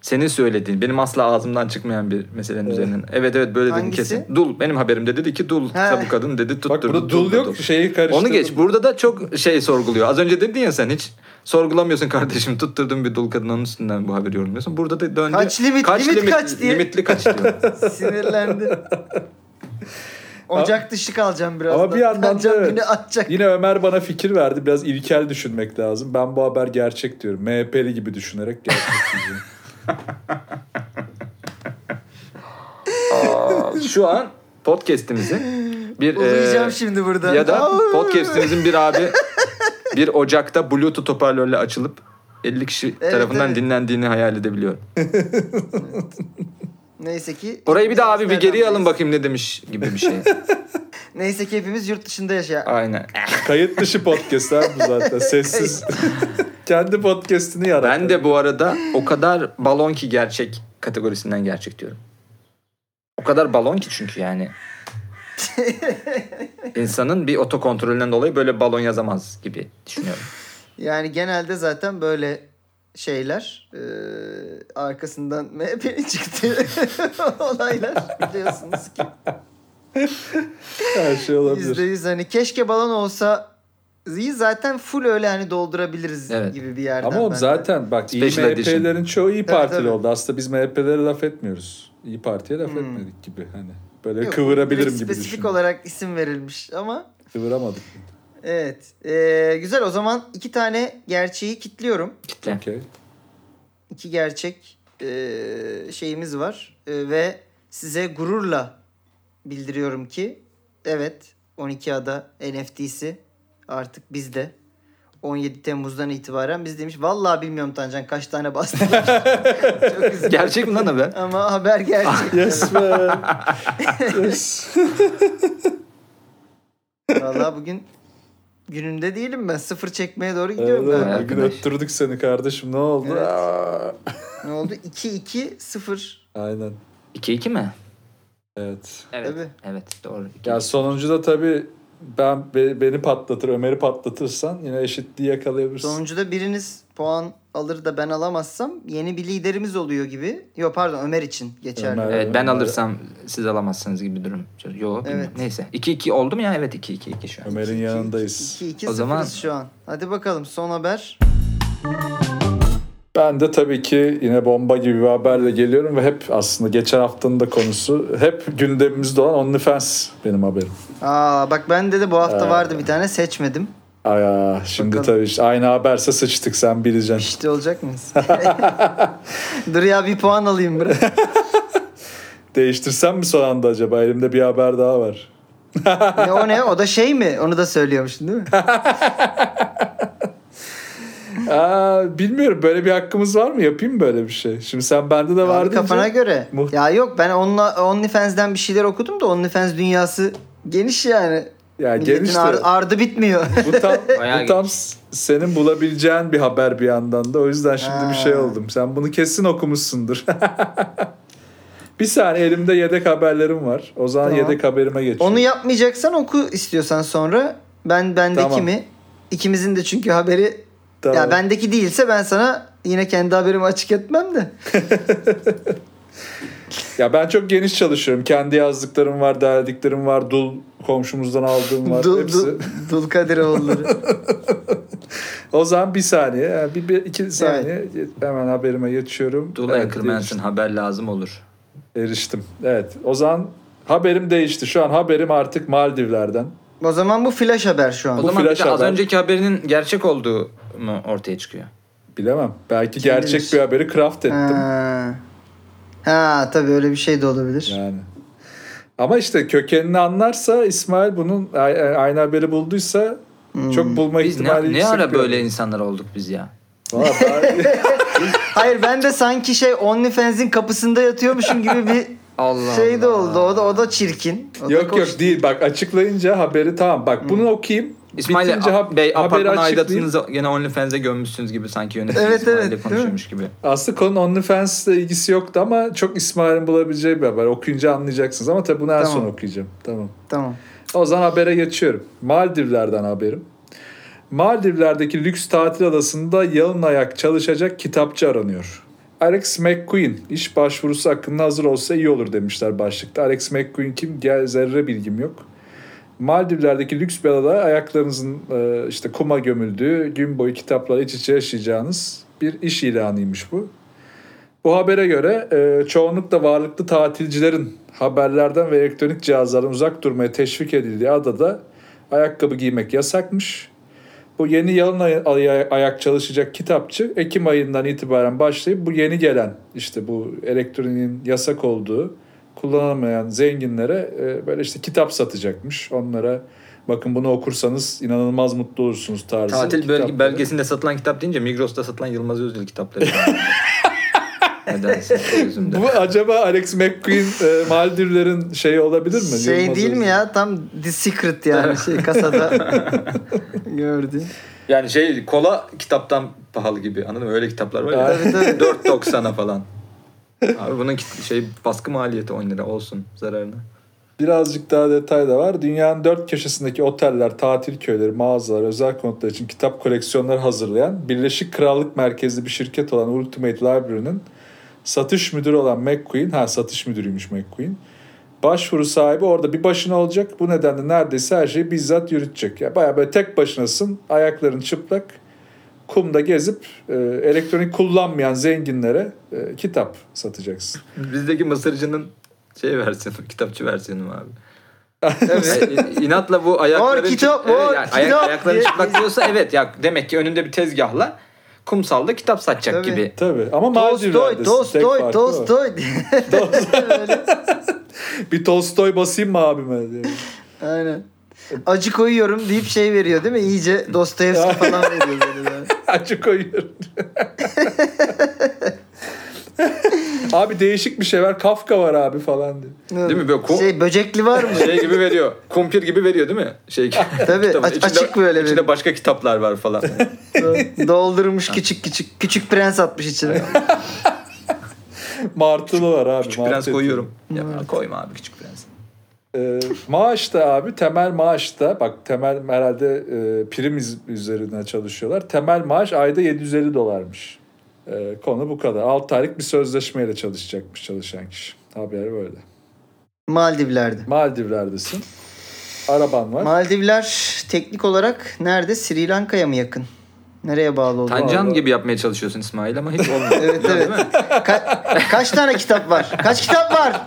Senin söylediğin, benim asla ağzımdan çıkmayan bir meselenin
Evet.
üzerinden. Evet evet böyle dedin
Hangisi?
kesin. Dul benim haberimde dedi ki dul
He.
bu kadın dedi tutturdu.
Bak burada dul
da
yok şeyi karıştırdım.
Onu geç. Burada da çok şey sorguluyor. Az önce dedin ya sen hiç sorgulamıyorsun kardeşim. Tutturdum bir dul kadın onun üstünden bu haberi yorumluyorsun. Burada da döndü.
Kaç limit, limit kaç diye.
Limitli kaç diyor.
Sinirlendi. Ocak dışı kalacağım biraz.
Ama bir yandan da
Kancam
evet.
günü atacak.
Yine Ömer bana fikir verdi. Biraz ilkel düşünmek lazım. Ben bu haber gerçek diyorum. MHP'li gibi düşünerek gerçek diyeceğim.
şu an podcast'imizi bir
Uluyacağım
e,
şimdi burada.
ya da
Aa!
podcast'imizin bir abi bir ocakta bluetooth hoparlörle açılıp 50 kişi
Evet,
tarafından
evet.
dinlendiğini hayal edebiliyorum.
Neyse ki.
Orayı bir daha abi bir geriye alın
Neredendeyiz?
bakayım ne demiş gibi bir şey.
Neyse ki hepimiz yurt dışında yaşa.
Aynen.
Kayıt dışı podcast abi bu zaten. Sessiz. Kendi podcastini yarat.
Ben de bu arada o kadar balon ki gerçek kategorisinden gerçek diyorum. O kadar balon ki çünkü yani. İnsanın bir otokontrolünden dolayı böyle balon yazamaz gibi düşünüyorum.
Yani genelde zaten böyle şeyler e, arkasından MHP'nin çıktı olaylar biliyorsunuz ki.
her şey
Yüzde
olabilir.
yüz hani keşke balon olsa iyi zaten full öyle hani doldurabiliriz
Evet.
gibi bir yerden.
Ama oğlum
ben de.
zaten bak iyi
Special edition.
MHP'lerin çoğu iyi partili
tabii.
oldu. Aslında biz MHP'lere laf etmiyoruz. İyi Parti'ye laf etmedik gibi hani. Böyle
Hmm. Yok,
kıvırabilirim
direkt
gibi
Spesifik
düşündüm.
olarak isim verilmiş ama
Kıvıramadık.
evet. E, güzel o zaman iki tane gerçeği kitliyorum.
Kitle.
Okey.
iki gerçek e, şeyimiz var E, ve size gururla bildiriyorum ki evet 12 ada NFT'si artık bizde. 17 Temmuz'dan itibaren biz demiş vallahi bilmiyorum Tancan kaç tane bastılar. Çok üzüldüm.
Gerçek mi lan haber?
Ama haber gerçek.
Yes man. yes.
Vallahi bugün günümde değilim ben. Sıfır çekmeye doğru gidiyorum
Evet,
ben.
ben
bugün
arkadaş.
öttürdük seni kardeşim ne oldu?
Evet.
Aa.
Ne oldu? 2-2-0.
Aynen.
2-2 mi?
Evet.
Evet. Tabii.
Evet doğru.
Ya sonuncu da tabii ben be- beni patlatır, Ömer'i patlatırsan yine eşitliği yakalayabilirsin.
Sonuncuda biriniz puan alır da ben alamazsam yeni bir liderimiz oluyor gibi. Yok pardon Ömer için geçerli.
Ömer.
Evet ben alırsam siz alamazsınız gibi durum. Yo bilmiyorum.
Evet.
neyse. 2-2 oldu mu ya? Evet 2-2 şu an.
Ömer'in yanındayız.
2-2
O zaman-
şu an. Hadi bakalım son haber.
Ben de tabii ki yine bomba gibi bir haberle geliyorum ve hep aslında geçen haftanın da konusu hep gündemimizde olan OnlyFans benim haberim.
Aa bak ben de de bu hafta
Ee.
vardı bir tane seçmedim.
Aya şimdi
Bakalım.
tabii işte aynı haberse sıçtık sen bileceksin.
İşte olacak mıyız? Dur ya bir puan alayım bırak.
Değiştirsem mi son anda acaba? Elimde bir haber daha var.
ne, o ne? O da şey mi? Onu da söylüyormuşsun değil mi?
Aa, bilmiyorum böyle bir hakkımız var mı? Yapayım mı böyle bir şey? Şimdi sen bende de var
Abi kafana
deyince-
göre.
Muht-
ya yok ben onunla OnlyFans'den bir şeyler okudum da OnlyFans dünyası geniş yani.
Ya
Milletin
geniş de-
ar- ardı bitmiyor.
Bu tam,
Bayağı
bu tam senin bulabileceğin bir haber bir yandan da. O yüzden şimdi
Ha.
bir şey oldum. Sen bunu kesin okumuşsundur. bir saniye elimde yedek haberlerim var. O zaman
Tamam.
yedek haberime geçiyorum.
Onu yapmayacaksan oku istiyorsan sonra. Ben bendeki
Tamam.
mi? İkimizin de çünkü haberi
Tamam.
ya bendeki değilse ben sana yine kendi haberimi açık etmem de.
Ya ben çok geniş çalışıyorum. Kendi yazdıklarım var, derdiklerim var. Dul komşumuzdan aldığım var.
Dul,
hepsi.
dul, dul Kadiroğulları.
O zaman bir saniye. yani Bir, bir- iki saniye. Hemen haberime geçiyorum.
Dula
Evet,
Ackerman'sın haber lazım olur.
Eriştim. Evet. O zaman haberim değişti. Şu an haberim artık Maldivler'den.
o zaman bu flash haber şu
O
an.
Bu
zaman bir
flash
de az
haber.
önceki haberinin gerçek olduğu mu ortaya çıkıyor?
Bilemem. Belki
Kim
gerçek
bilir?
bir haberi craft ettim.
Ha. ha tabii öyle bir şey de olabilir.
Yani. Ama işte kökenini anlarsa İsmail bunun a- a- aynı haberi bulduysa
Hmm.
çok bulma
Biz
ihtimali
ne, ne
yüksek.
ara
bir-
böyle insanlar olduk biz ya?
Valla ben-
Hayır ben de sanki şey OnlyFans'in kapısında yatıyormuşum gibi bir
Allah
şey de
Allah.
oldu. O da o da çirkin. O da Hmm.
yok
koş-
yok değil bak açıklayınca haberi tamam. Bak bunu okuyayım.
İsmail
Bitince hab-
Bey
haberi
apartman
açıklayayım.
aidatınızı gene OnlyFans'e gömmüşsünüz gibi sanki yönetici
Evet,
İsmail'le
evet, değil mi?
konuşuyormuş gibi.
Aslında konu OnlyFans'la ilgisi yoktu ama çok İsmail'in bulabileceği bir haber. Okuyunca anlayacaksınız ama tabii bunu en
Tamam.
son okuyacağım. Tamam.
Tamam.
O zaman habere geçiyorum. Maldivler'den haberim. Maldivler'deki lüks tatil adasında yalın ayak çalışacak kitapçı aranıyor. Alex McQueen iş başvurusu hakkında hazır olsa iyi olur demişler başlıkta. Alex McQueen kim? Diğer zerre bilgim yok. Maldivler'deki lüks bir adada ayaklarınızın e, işte kuma gömüldüğü, gün boyu kitaplar iç içe yaşayacağınız bir iş ilanıymış bu. Bu habere göre e, çoğunlukla varlıklı tatilcilerin haberlerden ve elektronik cihazlardan uzak durmaya teşvik edildiği adada ayakkabı giymek yasakmış. Bu yeni yalın ay- ay- ayak çalışacak kitapçı Ekim ayından itibaren başlayıp bu yeni gelen işte bu elektroniğin yasak olduğu, kullanamayan zenginlere e, böyle işte kitap satacakmış. Onlara bakın bunu okursanız inanılmaz mutlu olursunuz tarzı.
Tatil
kitapları.
bölge, belgesinde satılan kitap deyince Migros'ta satılan Yılmaz Özdil kitapları. Nedense gözümde.
Bu acaba Alex McQueen e, Maldivlerin şeyi olabilir mi?
Şey
Yılmaz
değil mi
Özdil.
ya tam The Secret yani şey kasada gördüm.
Yani şey kola kitaptan pahalı gibi anladın mı? Öyle kitaplar var ya.
Tabii tabii.
4.90'a falan. Abi bunun kit- şey baskı maliyeti 10 lira olsun zararına.
Birazcık daha detay da var. Dünyanın dört köşesindeki oteller, tatil köyleri, mağazalar, özel konutlar için kitap koleksiyonları hazırlayan Birleşik Krallık merkezli bir şirket olan Ultimate Library'nin satış müdürü olan McQueen, ha satış müdürüymüş McQueen. Başvuru sahibi orada bir başına olacak. Bu nedenle neredeyse her şeyi bizzat yürütecek. Ya bayağı böyle tek başınasın. Ayakların çıplak. Kumda gezip e, elektronik kullanmayan zenginlere e, kitap satacaksın.
Bizdeki mısırcının şey versiyonu, kitapçı versiyonu abi. inatla bu ayakların
Mor kitap,
çıp- evet,
mor
yani ayak-
kitap
ayakların
diye-
çıplak diyorsa evet ya demek ki önünde bir tezgahla kumsalda kitap satacak
Tabii.
gibi.
Tabii ama
Tolstoy,
Maldivler'desin.
Tolstoy,
farkı o.
Tolstoy. Böyle.
Bir Tolstoy basayım mı abime? diye.
Aynen. Acı koyuyorum deyip şey veriyor değil mi? İyice Dostoyevski falan veriyor. böyle yani.
Acı koyuyorum. abi değişik bir şey var. Kafka var abi falan diye.
Değil mi? Böyle ko-
Şey, böcekli var mı?
şey gibi veriyor. Kumpir gibi veriyor değil mi? Şey
Tabii,
kitabın
aç- açık böyle
İçinde
veriyor.
başka kitaplar var falan.
Doldurmuş küçük küçük. Küçük prens atmış içine.
Martılı var abi.
Küçük
martı
prens
eti.
koyuyorum. Ya koyma abi küçük prens.
Ee, maaş da abi temel maaş da bak temel herhalde e, prim iz- üzerine çalışıyorlar. Temel maaş ayda 750 dolarmış. Ee, konu bu kadar. 6 aylık bir sözleşmeyle çalışacakmış çalışan kişi. Haber böyle.
Maldivler'de.
Maldivler'desin. Araban var.
Maldivler teknik olarak nerede? Sri Lanka'ya mı yakın? Nereye bağlı oldu?
Tancan
Vallahi.
gibi yapmaya çalışıyorsun İsmail ama hiç olmuyor.
Evet,
Değil
evet.
mi?
Ka- kaç tane kitap var? Kaç kitap var?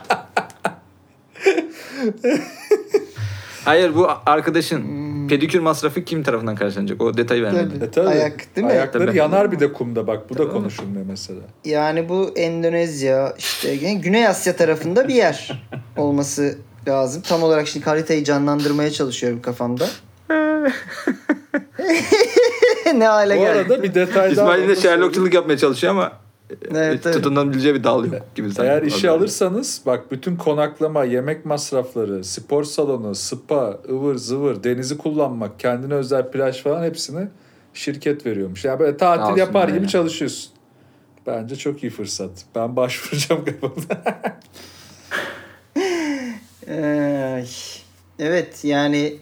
Hayır bu arkadaşın
Hmm.
pedikür masrafı kim tarafından karşılanacak? O detayı vermedi.
E tabii.
Ayak değil mi?
Ayakları
Tabii.
yanar bir de kumda bak. Bu da
Tabii.
konuşulmuyor mesela.
Yani bu Endonezya işte yani Güney Asya tarafında bir yer olması lazım. Tam olarak şimdi haritayı canlandırmaya çalışıyorum kafamda. ne hale
Bu
geldi.
arada bir detay daha.
İsmail de
onu söyleyeyim.
Sherlockçılık yapmaya çalışıyor ama
Evet, evet.
tutunabileceği bir dal yok gibi. sanki.
Eğer işi
Orada.
alırsanız bak bütün konaklama, yemek masrafları, spor salonu, spa, ıvır zıvır, denizi kullanmak, kendine özel plaj falan hepsini şirket veriyormuş. Yani böyle tatil
Sağ olsun
yapar
yani.
gibi çalışıyorsun. Bence çok iyi fırsat. Ben başvuracağım kafamda.
Ee, evet yani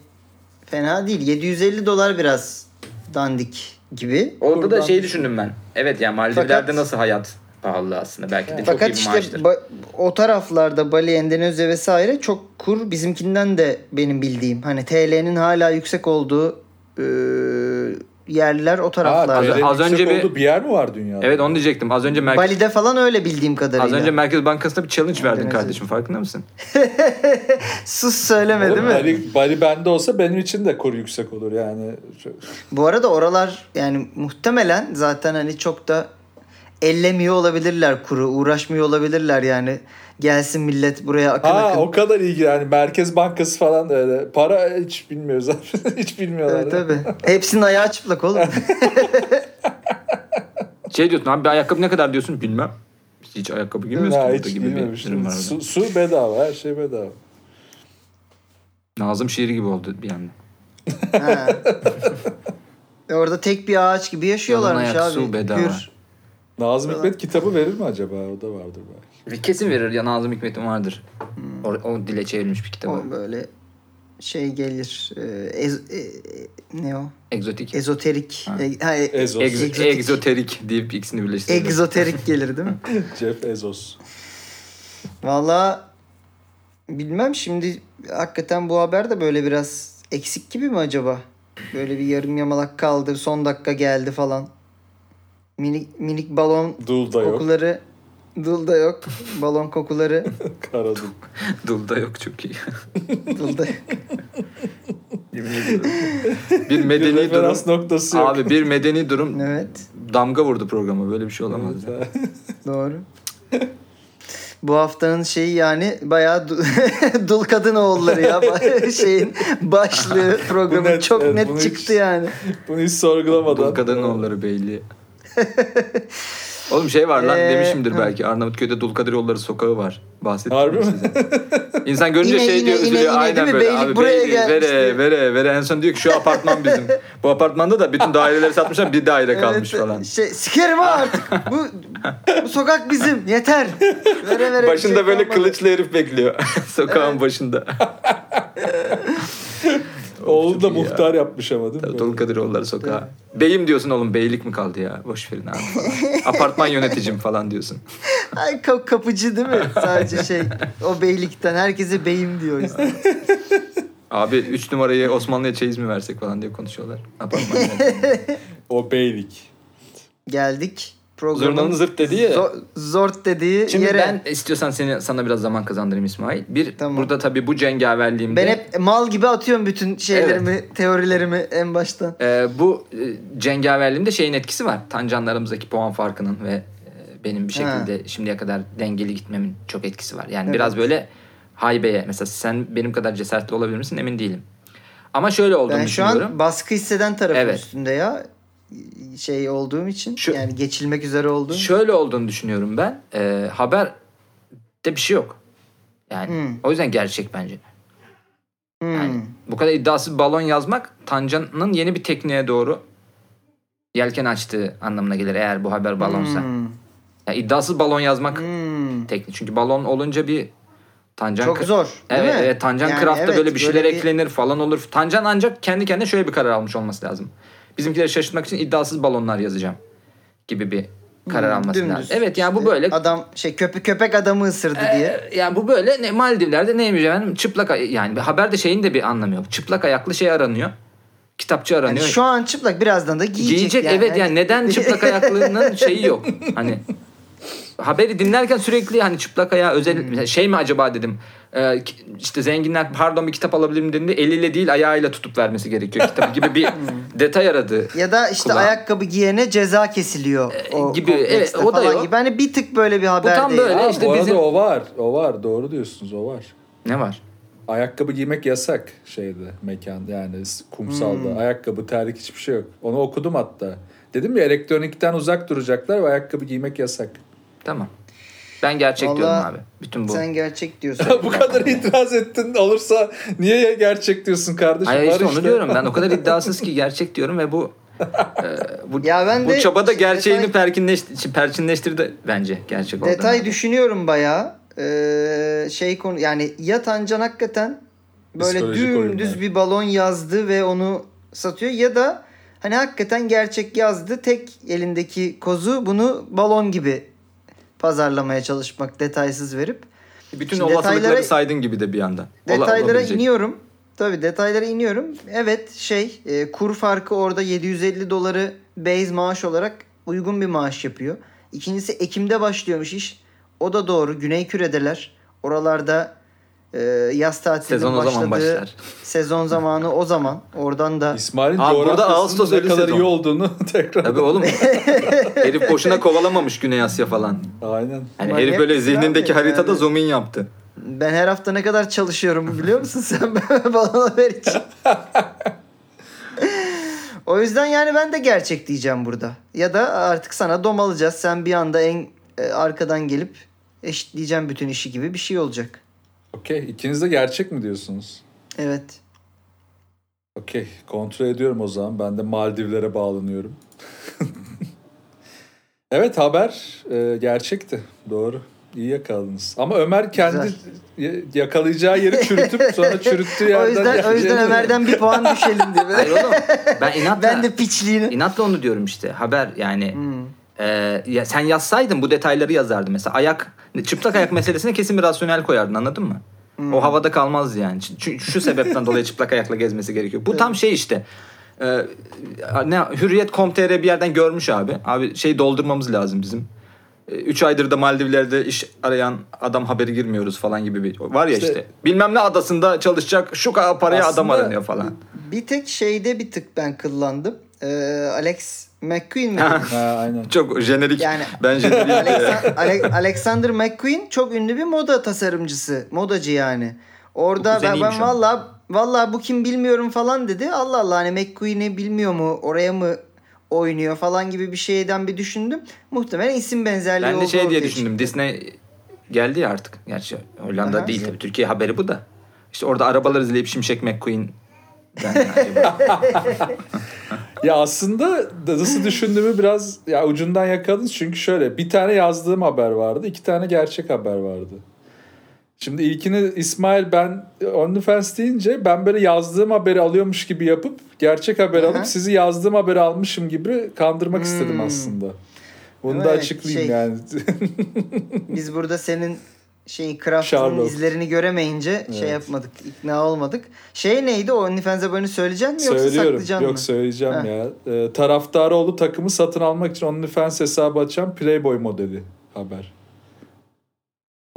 fena değil. 750 dolar biraz dandik gibi.
Orada da
Kurban.
şeyi düşündüm ben. Evet yani Maldivler'de
Fakat-
nasıl hayat pahalı aslında. Belki de çok iyi
Fakat
bir
işte
maaştır.
ba- o taraflarda Bali, Endonezya vesaire çok kur bizimkinden de benim bildiğim. Hani TL'nin hala yüksek olduğu e, yerler o taraflarda.
Az- az önce bir-
bir... bir yer mi var dünyada?
Evet onu diyecektim. Az önce merkez,
Bali'de falan öyle bildiğim kadarıyla.
az önce Merkez Bankası'na bir challenge verdin
Endonezya.
kardeşim. Farkında mısın?
Sus söyleme değil mi?
Bali, Bali bende olsa benim için de kur yüksek olur yani. Çok-
Bu arada oralar yani muhtemelen zaten hani çok da ellemiyor olabilirler kuru. Uğraşmıyor olabilirler yani. Gelsin millet buraya akın
Ha
akın.
o kadar iyi yani Merkez Bankası falan öyle. Para hiç bilmiyoruz abi. hiç bilmiyorlar.
Tabii tabii. Hepsinin ayağı çıplak oğlum.
Şey diyorsun abi bir ayakkabı ne kadar diyorsun bilmem. Hiç ayakkabı giymiyorsun
Ha,
burada
hiç
gibi bir
bilmiyormuş.
durum var. orada.
Su, su bedava her şey bedava.
Nazım şiiri gibi oldu bir yandan.
Ha. Orada tek bir ağaç gibi yaşıyorlarmış
Yalan ayak,
abi.
su bedava.
Gür.
Nazım Hikmet kitabı verir mi acaba? O da vardır belki.
Kesin verir ya Nazım Hikmet'in vardır. O, o dile çevrilmiş bir kitabı.
O böyle şey gelir. e, ez- e, e, ne o?
Egzotik.
Ezoterik.
Ha.
E, ha, e,
Ezos.
Egz-
Egzotik.
egzoterik deyip ikisini birleştirdim.
egzoterik gelir değil mi?
Jeff Ezos.
Valla bilmem şimdi hakikaten bu haber de böyle biraz eksik gibi mi acaba? Böyle bir yarım yamalak kaldı. Son dakika geldi falan. Minik minik balon
Dul da yok.
kokuları. Dul da yok. Balon kokuları.
Kara dul.
Dulda yok çok iyi.
Dul da
Yemin ediyorum. bir medeni durum.
Referans noktası yok.
Abi bir medeni durum
Evet.
damga vurdu programa. Böyle bir şey olamaz. ya.
Doğru. Bu haftanın şeyi yani bayağı du- dul kadın oğulları ya. Şeyin başlığı programın
net,
çok
evet,
net
bunu hiç-
çıktı yani.
Bunu hiç
Dul
sorgulamadan.
kadının yolları belli. Oğlum şey var lan
Ee,
demişimdir
hı.
belki Arnavutköy'de Dulkadir yolları sokağı var. Bahsettim
Harbi mi?
size. İnsan görünce
Yine,
şey
yine,
diyor
yine,
üzülüyor
yine
aynen
değil mi?
böyle.
Beylik
Abi
buraya
beylik,
gelmiş
vere
diyor.
vere vere en son diyor ki şu apartman bizim. Bu apartmanda da bütün daireleri satmışlar bir daire kalmış
Evet,
falan.
Şey, sikerim ha artık. bu, bu sokak bizim. Yeter. Vere vere bir
Başında
şey
böyle
kalmadı.
kılıçlı herif bekliyor. Sokağın başında.
Oğlu da
Çok iyi ya.
muhtar yapmış ama değil mi?
Tabii
Böyle?
Dulkadiroğulları sokağı. Beyim diyorsun oğlum beylik mi kaldı ya? Boş verin abi. falan. Apartman yöneticim falan diyorsun.
Ay ka- kapıcı değil mi? Sadece şey o beylikten herkese beyim diyor. işte.
Abi 3 numarayı Osmanlı'ya çeyiz mi versek falan diye konuşuyorlar. Apartman
O beylik.
Geldik
Zurnanın
programın
zırt dediği ya.
zo- zort dediği
Şimdi
yere.
ben istiyorsan seni sana biraz zaman kazandırayım İsmail. Bir
Tamam.
burada tabii bu cengaverliğimde
Ben hep mal gibi atıyorum bütün şeylerimi, teorilerimi en baştan.
e, bu e, cengaverliğimde şeyin etkisi var. Tancanlarımızdaki puan farkının ve e, benim bir
Ha.
şekilde şimdiye kadar dengeli gitmemin çok etkisi var. Yani
Evet.
biraz böyle haybeye mesela sen benim kadar cesaretli olabilir misin emin değilim. Ama şöyle olduğunu
Ben şu
düşünüyorum.
an baskı hisseden tarafın
Evet.
üstünde ya şey olduğum için
Şu-
yani geçilmek üzere olduğum. için.
Şöyle olduğunu düşünüyorum ben. Ee, haber de bir şey yok. Yani
Hmm.
o yüzden gerçek bence.
Hmm.
Yani bu kadar iddiasız balon yazmak Tancan'ın yeni bir tekniğe doğru yelken açtığı anlamına gelir eğer bu haber balonsa.
Hmm.
Yani iddiasız balon yazmak
Hmm.
tekniği. Çünkü balon olunca bir Tancan
Çok
kı-
zor. değil
Evet,
mi?
evet Tancan
Yani
Craft'ta
evet,
böyle bir şeyler eklenir falan olur. Tancan ancak kendi kendine şöyle bir karar almış olması lazım. Bizimkileri şaşırtmak için iddiasız balonlar yazacağım gibi bir karar
Hmm,
alması
dümdüz
lazım. Evet yani bu
işte.
böyle
Adam şey köpek köpek adamı ısırdı diye.
Ee, yani bu böyle ne, Maldivler'de neymiş efendim çıplak ay- yani bir haberde şeyin de bir anlamı yok. Çıplak ayaklı şey aranıyor. Kitapçı
Yani
aranıyor.
şu an hani- çıplak birazdan da giyecek.
Giyecek, evet yani neden çıplak ayaklığının şeyi yok. Hani haberi dinlerken sürekli hani çıplak ayağı özel
Hmm.
mesela şey mi acaba dedim. Ee, ki- işte zenginler pardon bir kitap alabilir mi dediğinde eliyle değil ayağıyla tutup vermesi gerekiyor kitabı gibi bir detay aradı.
Hmm. Ya da işte
Kulağa.
ayakkabı giyene ceza kesiliyor. O
Ee, gibi, evet,
komplekste
o da
falan
yok.
Gibi. Hani bir tık böyle bir haber
tam
değil.
böyle.
Ama
işte
bu arada
bizim-
o var. O var. Doğru diyorsunuz. O var.
Ne var?
Ayakkabı giymek yasak şeyde mekan yani s- kumsalda.
Hmm.
Ayakkabı, terlik hiçbir şey yok. Onu okudum hatta. Dedim ya elektronikten uzak duracaklar ve ayakkabı giymek yasak.
Tamam. Ben gerçek
Vallahi
diyorum abi. Bütün bu.
Sen gerçek diyorsun.
bu kadar itiraz ettin olursa niye ya gerçek diyorsun kardeşim?
Hayır
Var
işte onu
işte.
diyorum ben o kadar iddiasız ki gerçek diyorum ve bu e, bu,
Ya ben
bu
de
çaba da
işte
gerçeğini
detay-
perkinleşti, perçinleştirdi bence gerçek olduğunu.
Detay düşünüyorum bayağı. Ee, şey konu yani ya Tancan hakikaten böyle
Psikolojik
dümdüz
oyunlar.
bir balon yazdı ve onu satıyor ya da hani hakikaten gerçek yazdı tek elindeki kozu bunu balon gibi pazarlamaya çalışmak detaysız verip
Bütün
Şimdi
olasılıkları
detaylara-
saydın gibi de bir yandan. Ola-
detaylara
olabilecek.
iniyorum. Tabii detaylara iniyorum. Evet şey e, kur farkı orada 750 doları base maaş olarak uygun bir maaş yapıyor. İkincisi Ekim'de başlıyormuş iş. O da doğru. Güney küredeler. Oralarda e, yaz tatilinin
Sezon o
başladığı
zaman başlar.
sezon zamanı o zaman. Oradan da
İsmail'in
Abi burada Ağustos
coğrafyasının ne kadar
ölü
iyi
sezon.
olduğunu tekrar.
Tabii oğlum. herif boşuna kovalamamış Güney Asya falan.
Aynen.
Yani
Manyak
herif böyle
mısın
zihnindeki
abi?
haritada
Yani-
zoom in yaptı.
ben her hafta ne kadar çalışıyorum biliyor musun sen bana haber için. o yüzden yani ben de gerçek diyeceğim burada. Ya da artık sana domalacağız. Sen bir anda en e, arkadan gelip eşitleyeceğim bütün işi gibi bir şey olacak.
Okey. İkiniz de gerçek mi diyorsunuz?
Evet.
Okey. Kontrol ediyorum o zaman. Ben de Maldivlere bağlanıyorum. evet haber e, gerçekti. Doğru. İyi yakaladınız. Ama Ömer kendi y- yakalayacağı yeri çürütüp sonra çürüttüğü yerden...
o yüzden o yüzden
yakalayabilir.
Ömer'den bir puan düşelim diye.
Hayır oğlum. Ben inatla,
ben de piçliğini.
inatla onu diyorum işte. Haber yani.
Hmm.
Ee, ya sen yazsaydın bu detayları yazardın mesela ayak çıplak ayak meselesine kesin bir rasyonel koyardın anladın mı? O havada kalmazdı yani. Çünkü şu sebepten dolayı çıplak ayakla gezmesi gerekiyor. Bu tam şey işte. Ee, ne hürriyet.com.tr bir yerden görmüş abi. Abi şey doldurmamız lazım bizim. 3 aydır da Maldivler'de iş arayan adam haberi girmiyoruz falan gibi bir var ya işte.
İşte-
Bilmem ne adasında çalışacak şu kadar paraya adam
Aslında-
aranıyor falan.
Bir tek şeyde bir tık ben kıllandım. Ee, Alex McQueen mi?
Ha, aynen.
Çok jenerik.
Yani-
ben jenerik.
Alexan- Ale- Alexander McQueen çok ünlü bir moda tasarımcısı. Modacı yani. Orada
Bu
ben,
kuzeniymiş
ben
ama.
valla valla bu kim bilmiyorum falan dedi. Allah Allah hani McQueen'i bilmiyor mu? Oraya mı oynuyor falan gibi bir şeyden bir düşündüm. Muhtemelen isim benzerliği
ben de
olduğu
şey diye
ortaya
düşündüm.
çıktı.
Disney geldi ya artık. Gerçi Hollanda
Aha.
değil tabii. Türkiye haberi bu da. İşte orada arabalar izleyip Şimşek McQueen ben de acaba-
Ya aslında da- nasıl düşündüğümü biraz ya ucundan yakaladınız. Çünkü şöyle bir tane yazdığım haber vardı. iki tane gerçek haber vardı. Şimdi ilkini İsmail ben OnlyFans deyince ben böyle yazdığım haberi alıyormuş gibi yapıp gerçek haber
Aha.
alıp sizi yazdığım haberi almışım gibi kandırmak istedim
Hmm.
aslında. Bunu da
Evet,
açıklayayım
şey-
yani.
Biz burada senin şey Kraft'ın
Sherlock.
izlerini göremeyince şey
Evet.
yapmadık. ikna olmadık. Şey neydi? O OnlyFans abone söyleyecek mi yoksa
Söylüyorum.
saklayacaksın
Yok
mı?
söyleyeceğim
Ha.
ya. Ee, taraftarı olup takımı satın almak için OnlyFans hesabı açan Playboy modeli haber.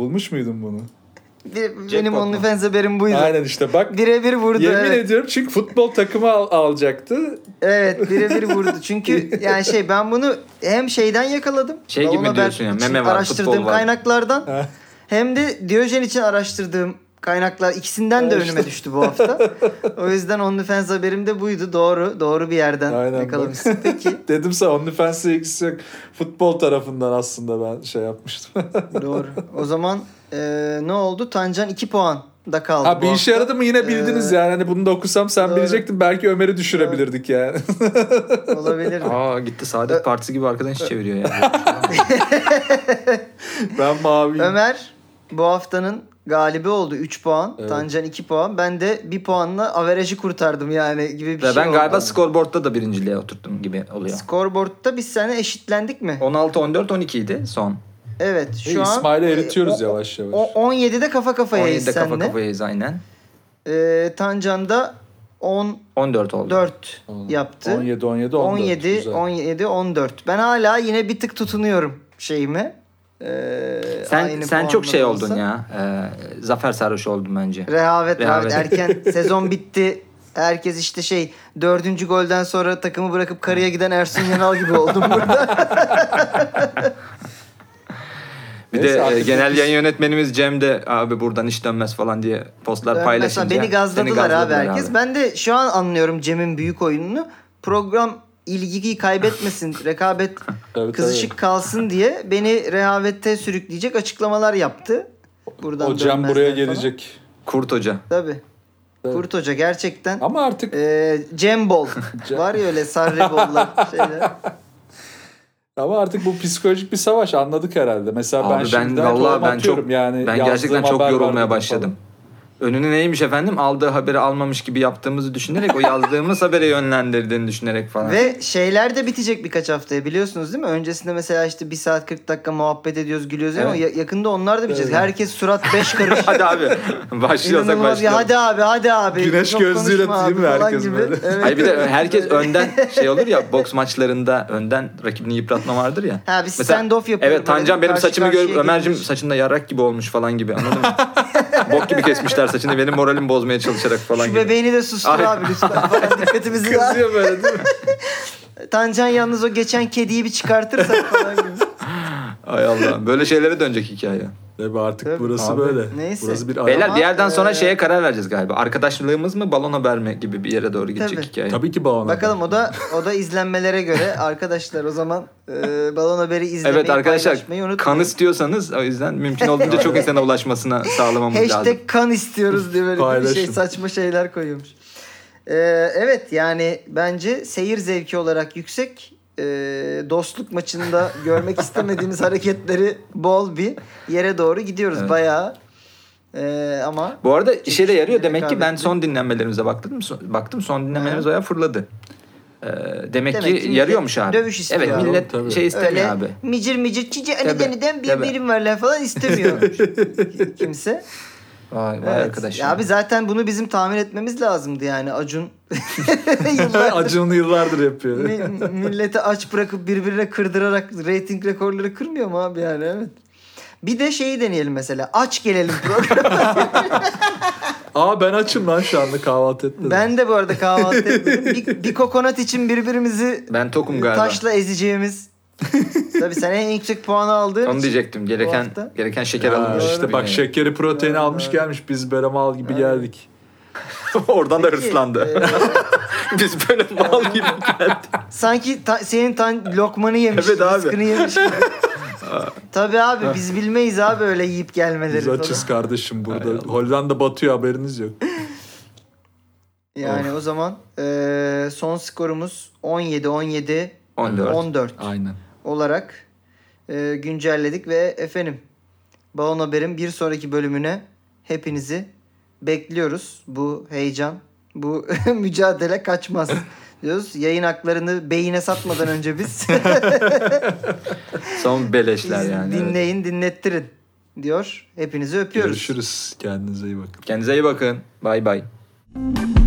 Bulmuş muydun bunu?
Bir-
Jackpot
benim
mu?
OnlyFans haberim buydu.
Aynen işte bak
Birebir vurdu.
yemin
evet.
ediyorum çünkü futbol takımı al- alacaktı.
Evet birebir vurdu. Çünkü yani şey ben bunu hem şeyden yakaladım.
Şey
Balon
gibi
Haber
diyorsun ya,
için
meme var,
Araştırdığım
futbol var.
kaynaklardan.
Ha.
hem de Diyojen için araştırdığım kaynaklar ikisinden de
Ha,
önüme düştü bu hafta. o yüzden OnlyFans haberim de buydu. Doğru. Doğru bir yerden
Aynen,
yakalamışsın. Peki.
Dedim sana OnlyFans'e ilgisi yok. Futbol tarafından aslında ben şey yapmıştım.
Doğru. O zaman e, ne oldu? Tancan 2 puan da kaldı
ha
bu
bir işe
hafta.
yaradı mı yine bildiniz
Ee,
yani. Hani bunu da okusam sen
doğru.
bilecektin. Belki Ömer'i düşürebilirdik yani.
Olabilir.
Aa gitti Saadet Partisi gibi arkadan iş çeviriyor yani.
ben maviyim.
Ömer bu haftanın galibi oldu 3 puan.
Evet.
Tancan 2 puan. Ben de 1 puanla averajı kurtardım yani gibi bir
Ve
şey
ben
oldu.
galiba skorboardta da birinciliğe oturttum gibi oluyor.
Skorboard'da biz seninle eşitlendik mi?
16 14 12 idi son.
Evet
E,
şu an
İsmail'i eritiyoruz
o-
yavaş yavaş.
o- 17'de kafa kafayayız
17'de kafa
seninle.
kafayayız aynen.
Ee, Tancan da 14
14 oldu.
Oldu.
yaptı.
17 17 14.
17
Güzel.
17 14. Ben hala yine bir tık tutunuyorum şeyime. Ee,
Sen
aynı
sen çok şey
puanlar
oldun
olsa.
ya. Ee, zafer sarhoşu oldun bence.
Rehavet,
Rehavet.
rehavet. erken sezon bitti. Herkes işte şey dördüncü golden sonra takımı bırakıp karıya giden Ersun Yanal gibi oldum burada.
Bir
Neyse
de e,
artık
genel
biz-
yayın yönetmenimiz Cem de abi buradan iş dönmez falan diye postlar paylaşınca.
Beni gazladılar,
seni
abi herkes. Ben de şu an anlıyorum Cem'in büyük oyununu. Program ilgiyi kaybetmesin, rekabet
Tabii,
kızışık kalsın diye beni rehavete sürükleyecek açıklamalar yaptı. Buradan
Hocam
dönmezler
buraya
falan.
gelecek.
Kurt Hoca.
Tabii.
Tabii.
Kurt Hoca gerçekten
Ama artık
e, Cembol. Var ya öyle Sarribol'lar şeyler.
ama artık bu psikolojik bir savaş anladık herhalde. Mesela ben
Abi ben
şimdiden
vallahi
kolum
ben
atıyorum
çok
yani
ben
yazdığım
gerçekten çok
haber
yorulmaya
vardı
başladım. Önünü neymiş efendim? Aldığı haberi almamış gibi yaptığımızı düşünerek o yazdığımız habere yönlendirdiğini düşünerek falan.
Ve şeyler de bitecek birkaç haftaya biliyorsunuz değil mi? Öncesinde mesela işte 1 saat 40 dakika muhabbet ediyoruz gülüyoruz ama
Evet.
ya- yakında onlar da bitecek.
Evet. şey
Herkes surat 5 karış.
hadi abi başlıyorsak
İnanılmaz ya
başlayalım.
hadi abi hadi abi.
Güneş
Çok
gözlüğüyle
konuşma
değil mi
abi falan
herkes böyle?
Evet.
Hayır bir de herkes önden şey olur ya boks maçlarında önden rakibini yıpratma vardır ya.
Ha, bir stand-off yapıyor
Evet Tancan
böyle,
benim
karşı
saçımı görüp
karşıya
Ömer'cim
gelmiş."
saçında yarak gibi olmuş falan gibi anladın mı? Bok gibi kesmişler saçını benim moralimi bozmaya çalışarak falan
Şu
gibi.
bebeğini de sustur
Ay.
abi lütfen falan dikkatimizi
falan.
daha.
Kızıyor böyle değil mi?
Tancan yalnız o geçen kediyi bir çıkartırsak falan gibi.
Ay Allah böyle şeylere dönecek hikaye.
Tabii artık
Tabii.
burası
Abi,
böyle.
neyse.
Burası bir ara-
Beyler bir yerden
e,
sonra şeye karar vereceğiz galiba. Arkadaşlığımız mı balon haber mi gibi bir yere doğru gidecek
Tabii.
hikaye.
Tabii ki bağlanacak.
Bakalım o da o da izlenmelere göre arkadaşlar o zaman e, balon haberi izlemeyi
Evet arkadaşlar
paylaşmayı unutmayın.
kan istiyorsanız o yüzden mümkün olduğunca çok insana ulaşmasına sağlamamız lazım.
Hashtag kan istiyoruz diye böyle bir
Paylaşın.
şey saçma şeyler koyuyormuş. Ee, evet yani bence seyir zevki olarak yüksek. Ee, dostluk maçında görmek istemediğimiz hareketleri bol bir yere doğru gidiyoruz
Evet.
bayağı. Ee, ama
Bu arada işe de yarıyor.
Çekişmeli
Demek ki ben
rekabetli.
son dinlenmelerimize baktım. So- Baktım son dinlenmelerimiz bayağı fırladı. Ee, demek,
ki
ki
millet
yarıyormuş abi.
dövüş istiyor
Evet
abi.
millet
Tabii.
şey istemiyor
öyle
abi.
micir micir cici
Tabii,
aniden bir
tabii.
birim varlar falan istemiyor kimse.
Vay vay
Evet.
arkadaş.
Ya
ya.
abi zaten bunu bizim tahmin etmemiz lazımdı yani Acun yıllardır
Acun'u yıllardır yapıyor.
Mi- milleti aç bırakıp birbirine kırdırarak reyting rekorları kırmıyor mu abi yani evet. Bir de şeyi deneyelim mesela. Aç gelelim program.
Aa ben açım lan şu anda kahvaltı ettim.
Ben de bu arada kahvaltı etmedim. Bir, bir kokonat için birbirimizi
Ben
e,
tokum galiba.
taşla ezeceğimiz. Tabii sen en yüksek puanı aldığın
Onu
için
diyecektim. Gereken
hafta-
gereken şeker
Aa,
alınmış.
işte bak şey-
Yine.
şekeri proteini almış gelmiş biz böyle mal gibi geldik.
Oradan da
Peki,
hırslandı.
e,
Biz böyle mal gibi geldik.
sanki ta- senin tan lokmanı yemiş.
Evet abi.
rızkını yemiş. Tabii abi biz bilmeyiz abi öyle yiyip gelmeleri
Biz
falan.
açız kardeşim burada.
Hay Allah.
Hollanda batıyor haberiniz yok.
Yani o zaman eee, son skorumuz 17 17
14.
14
Aynen.
olarak eee, güncelledik ve efendim Balon Haber'in bir sonraki bölümüne hepinizi bekliyoruz. Bu heyecan, bu mücadele kaçmaz diyoruz. Yayın haklarını beyine satmadan önce biz
Son beleşler
Biz
yani. evet.
dinleyin, dinlettirin diyor. Hepinizi öpüyoruz.
Görüşürüz. Kendinize iyi bakın.
Kendinize iyi bakın. Bay bay.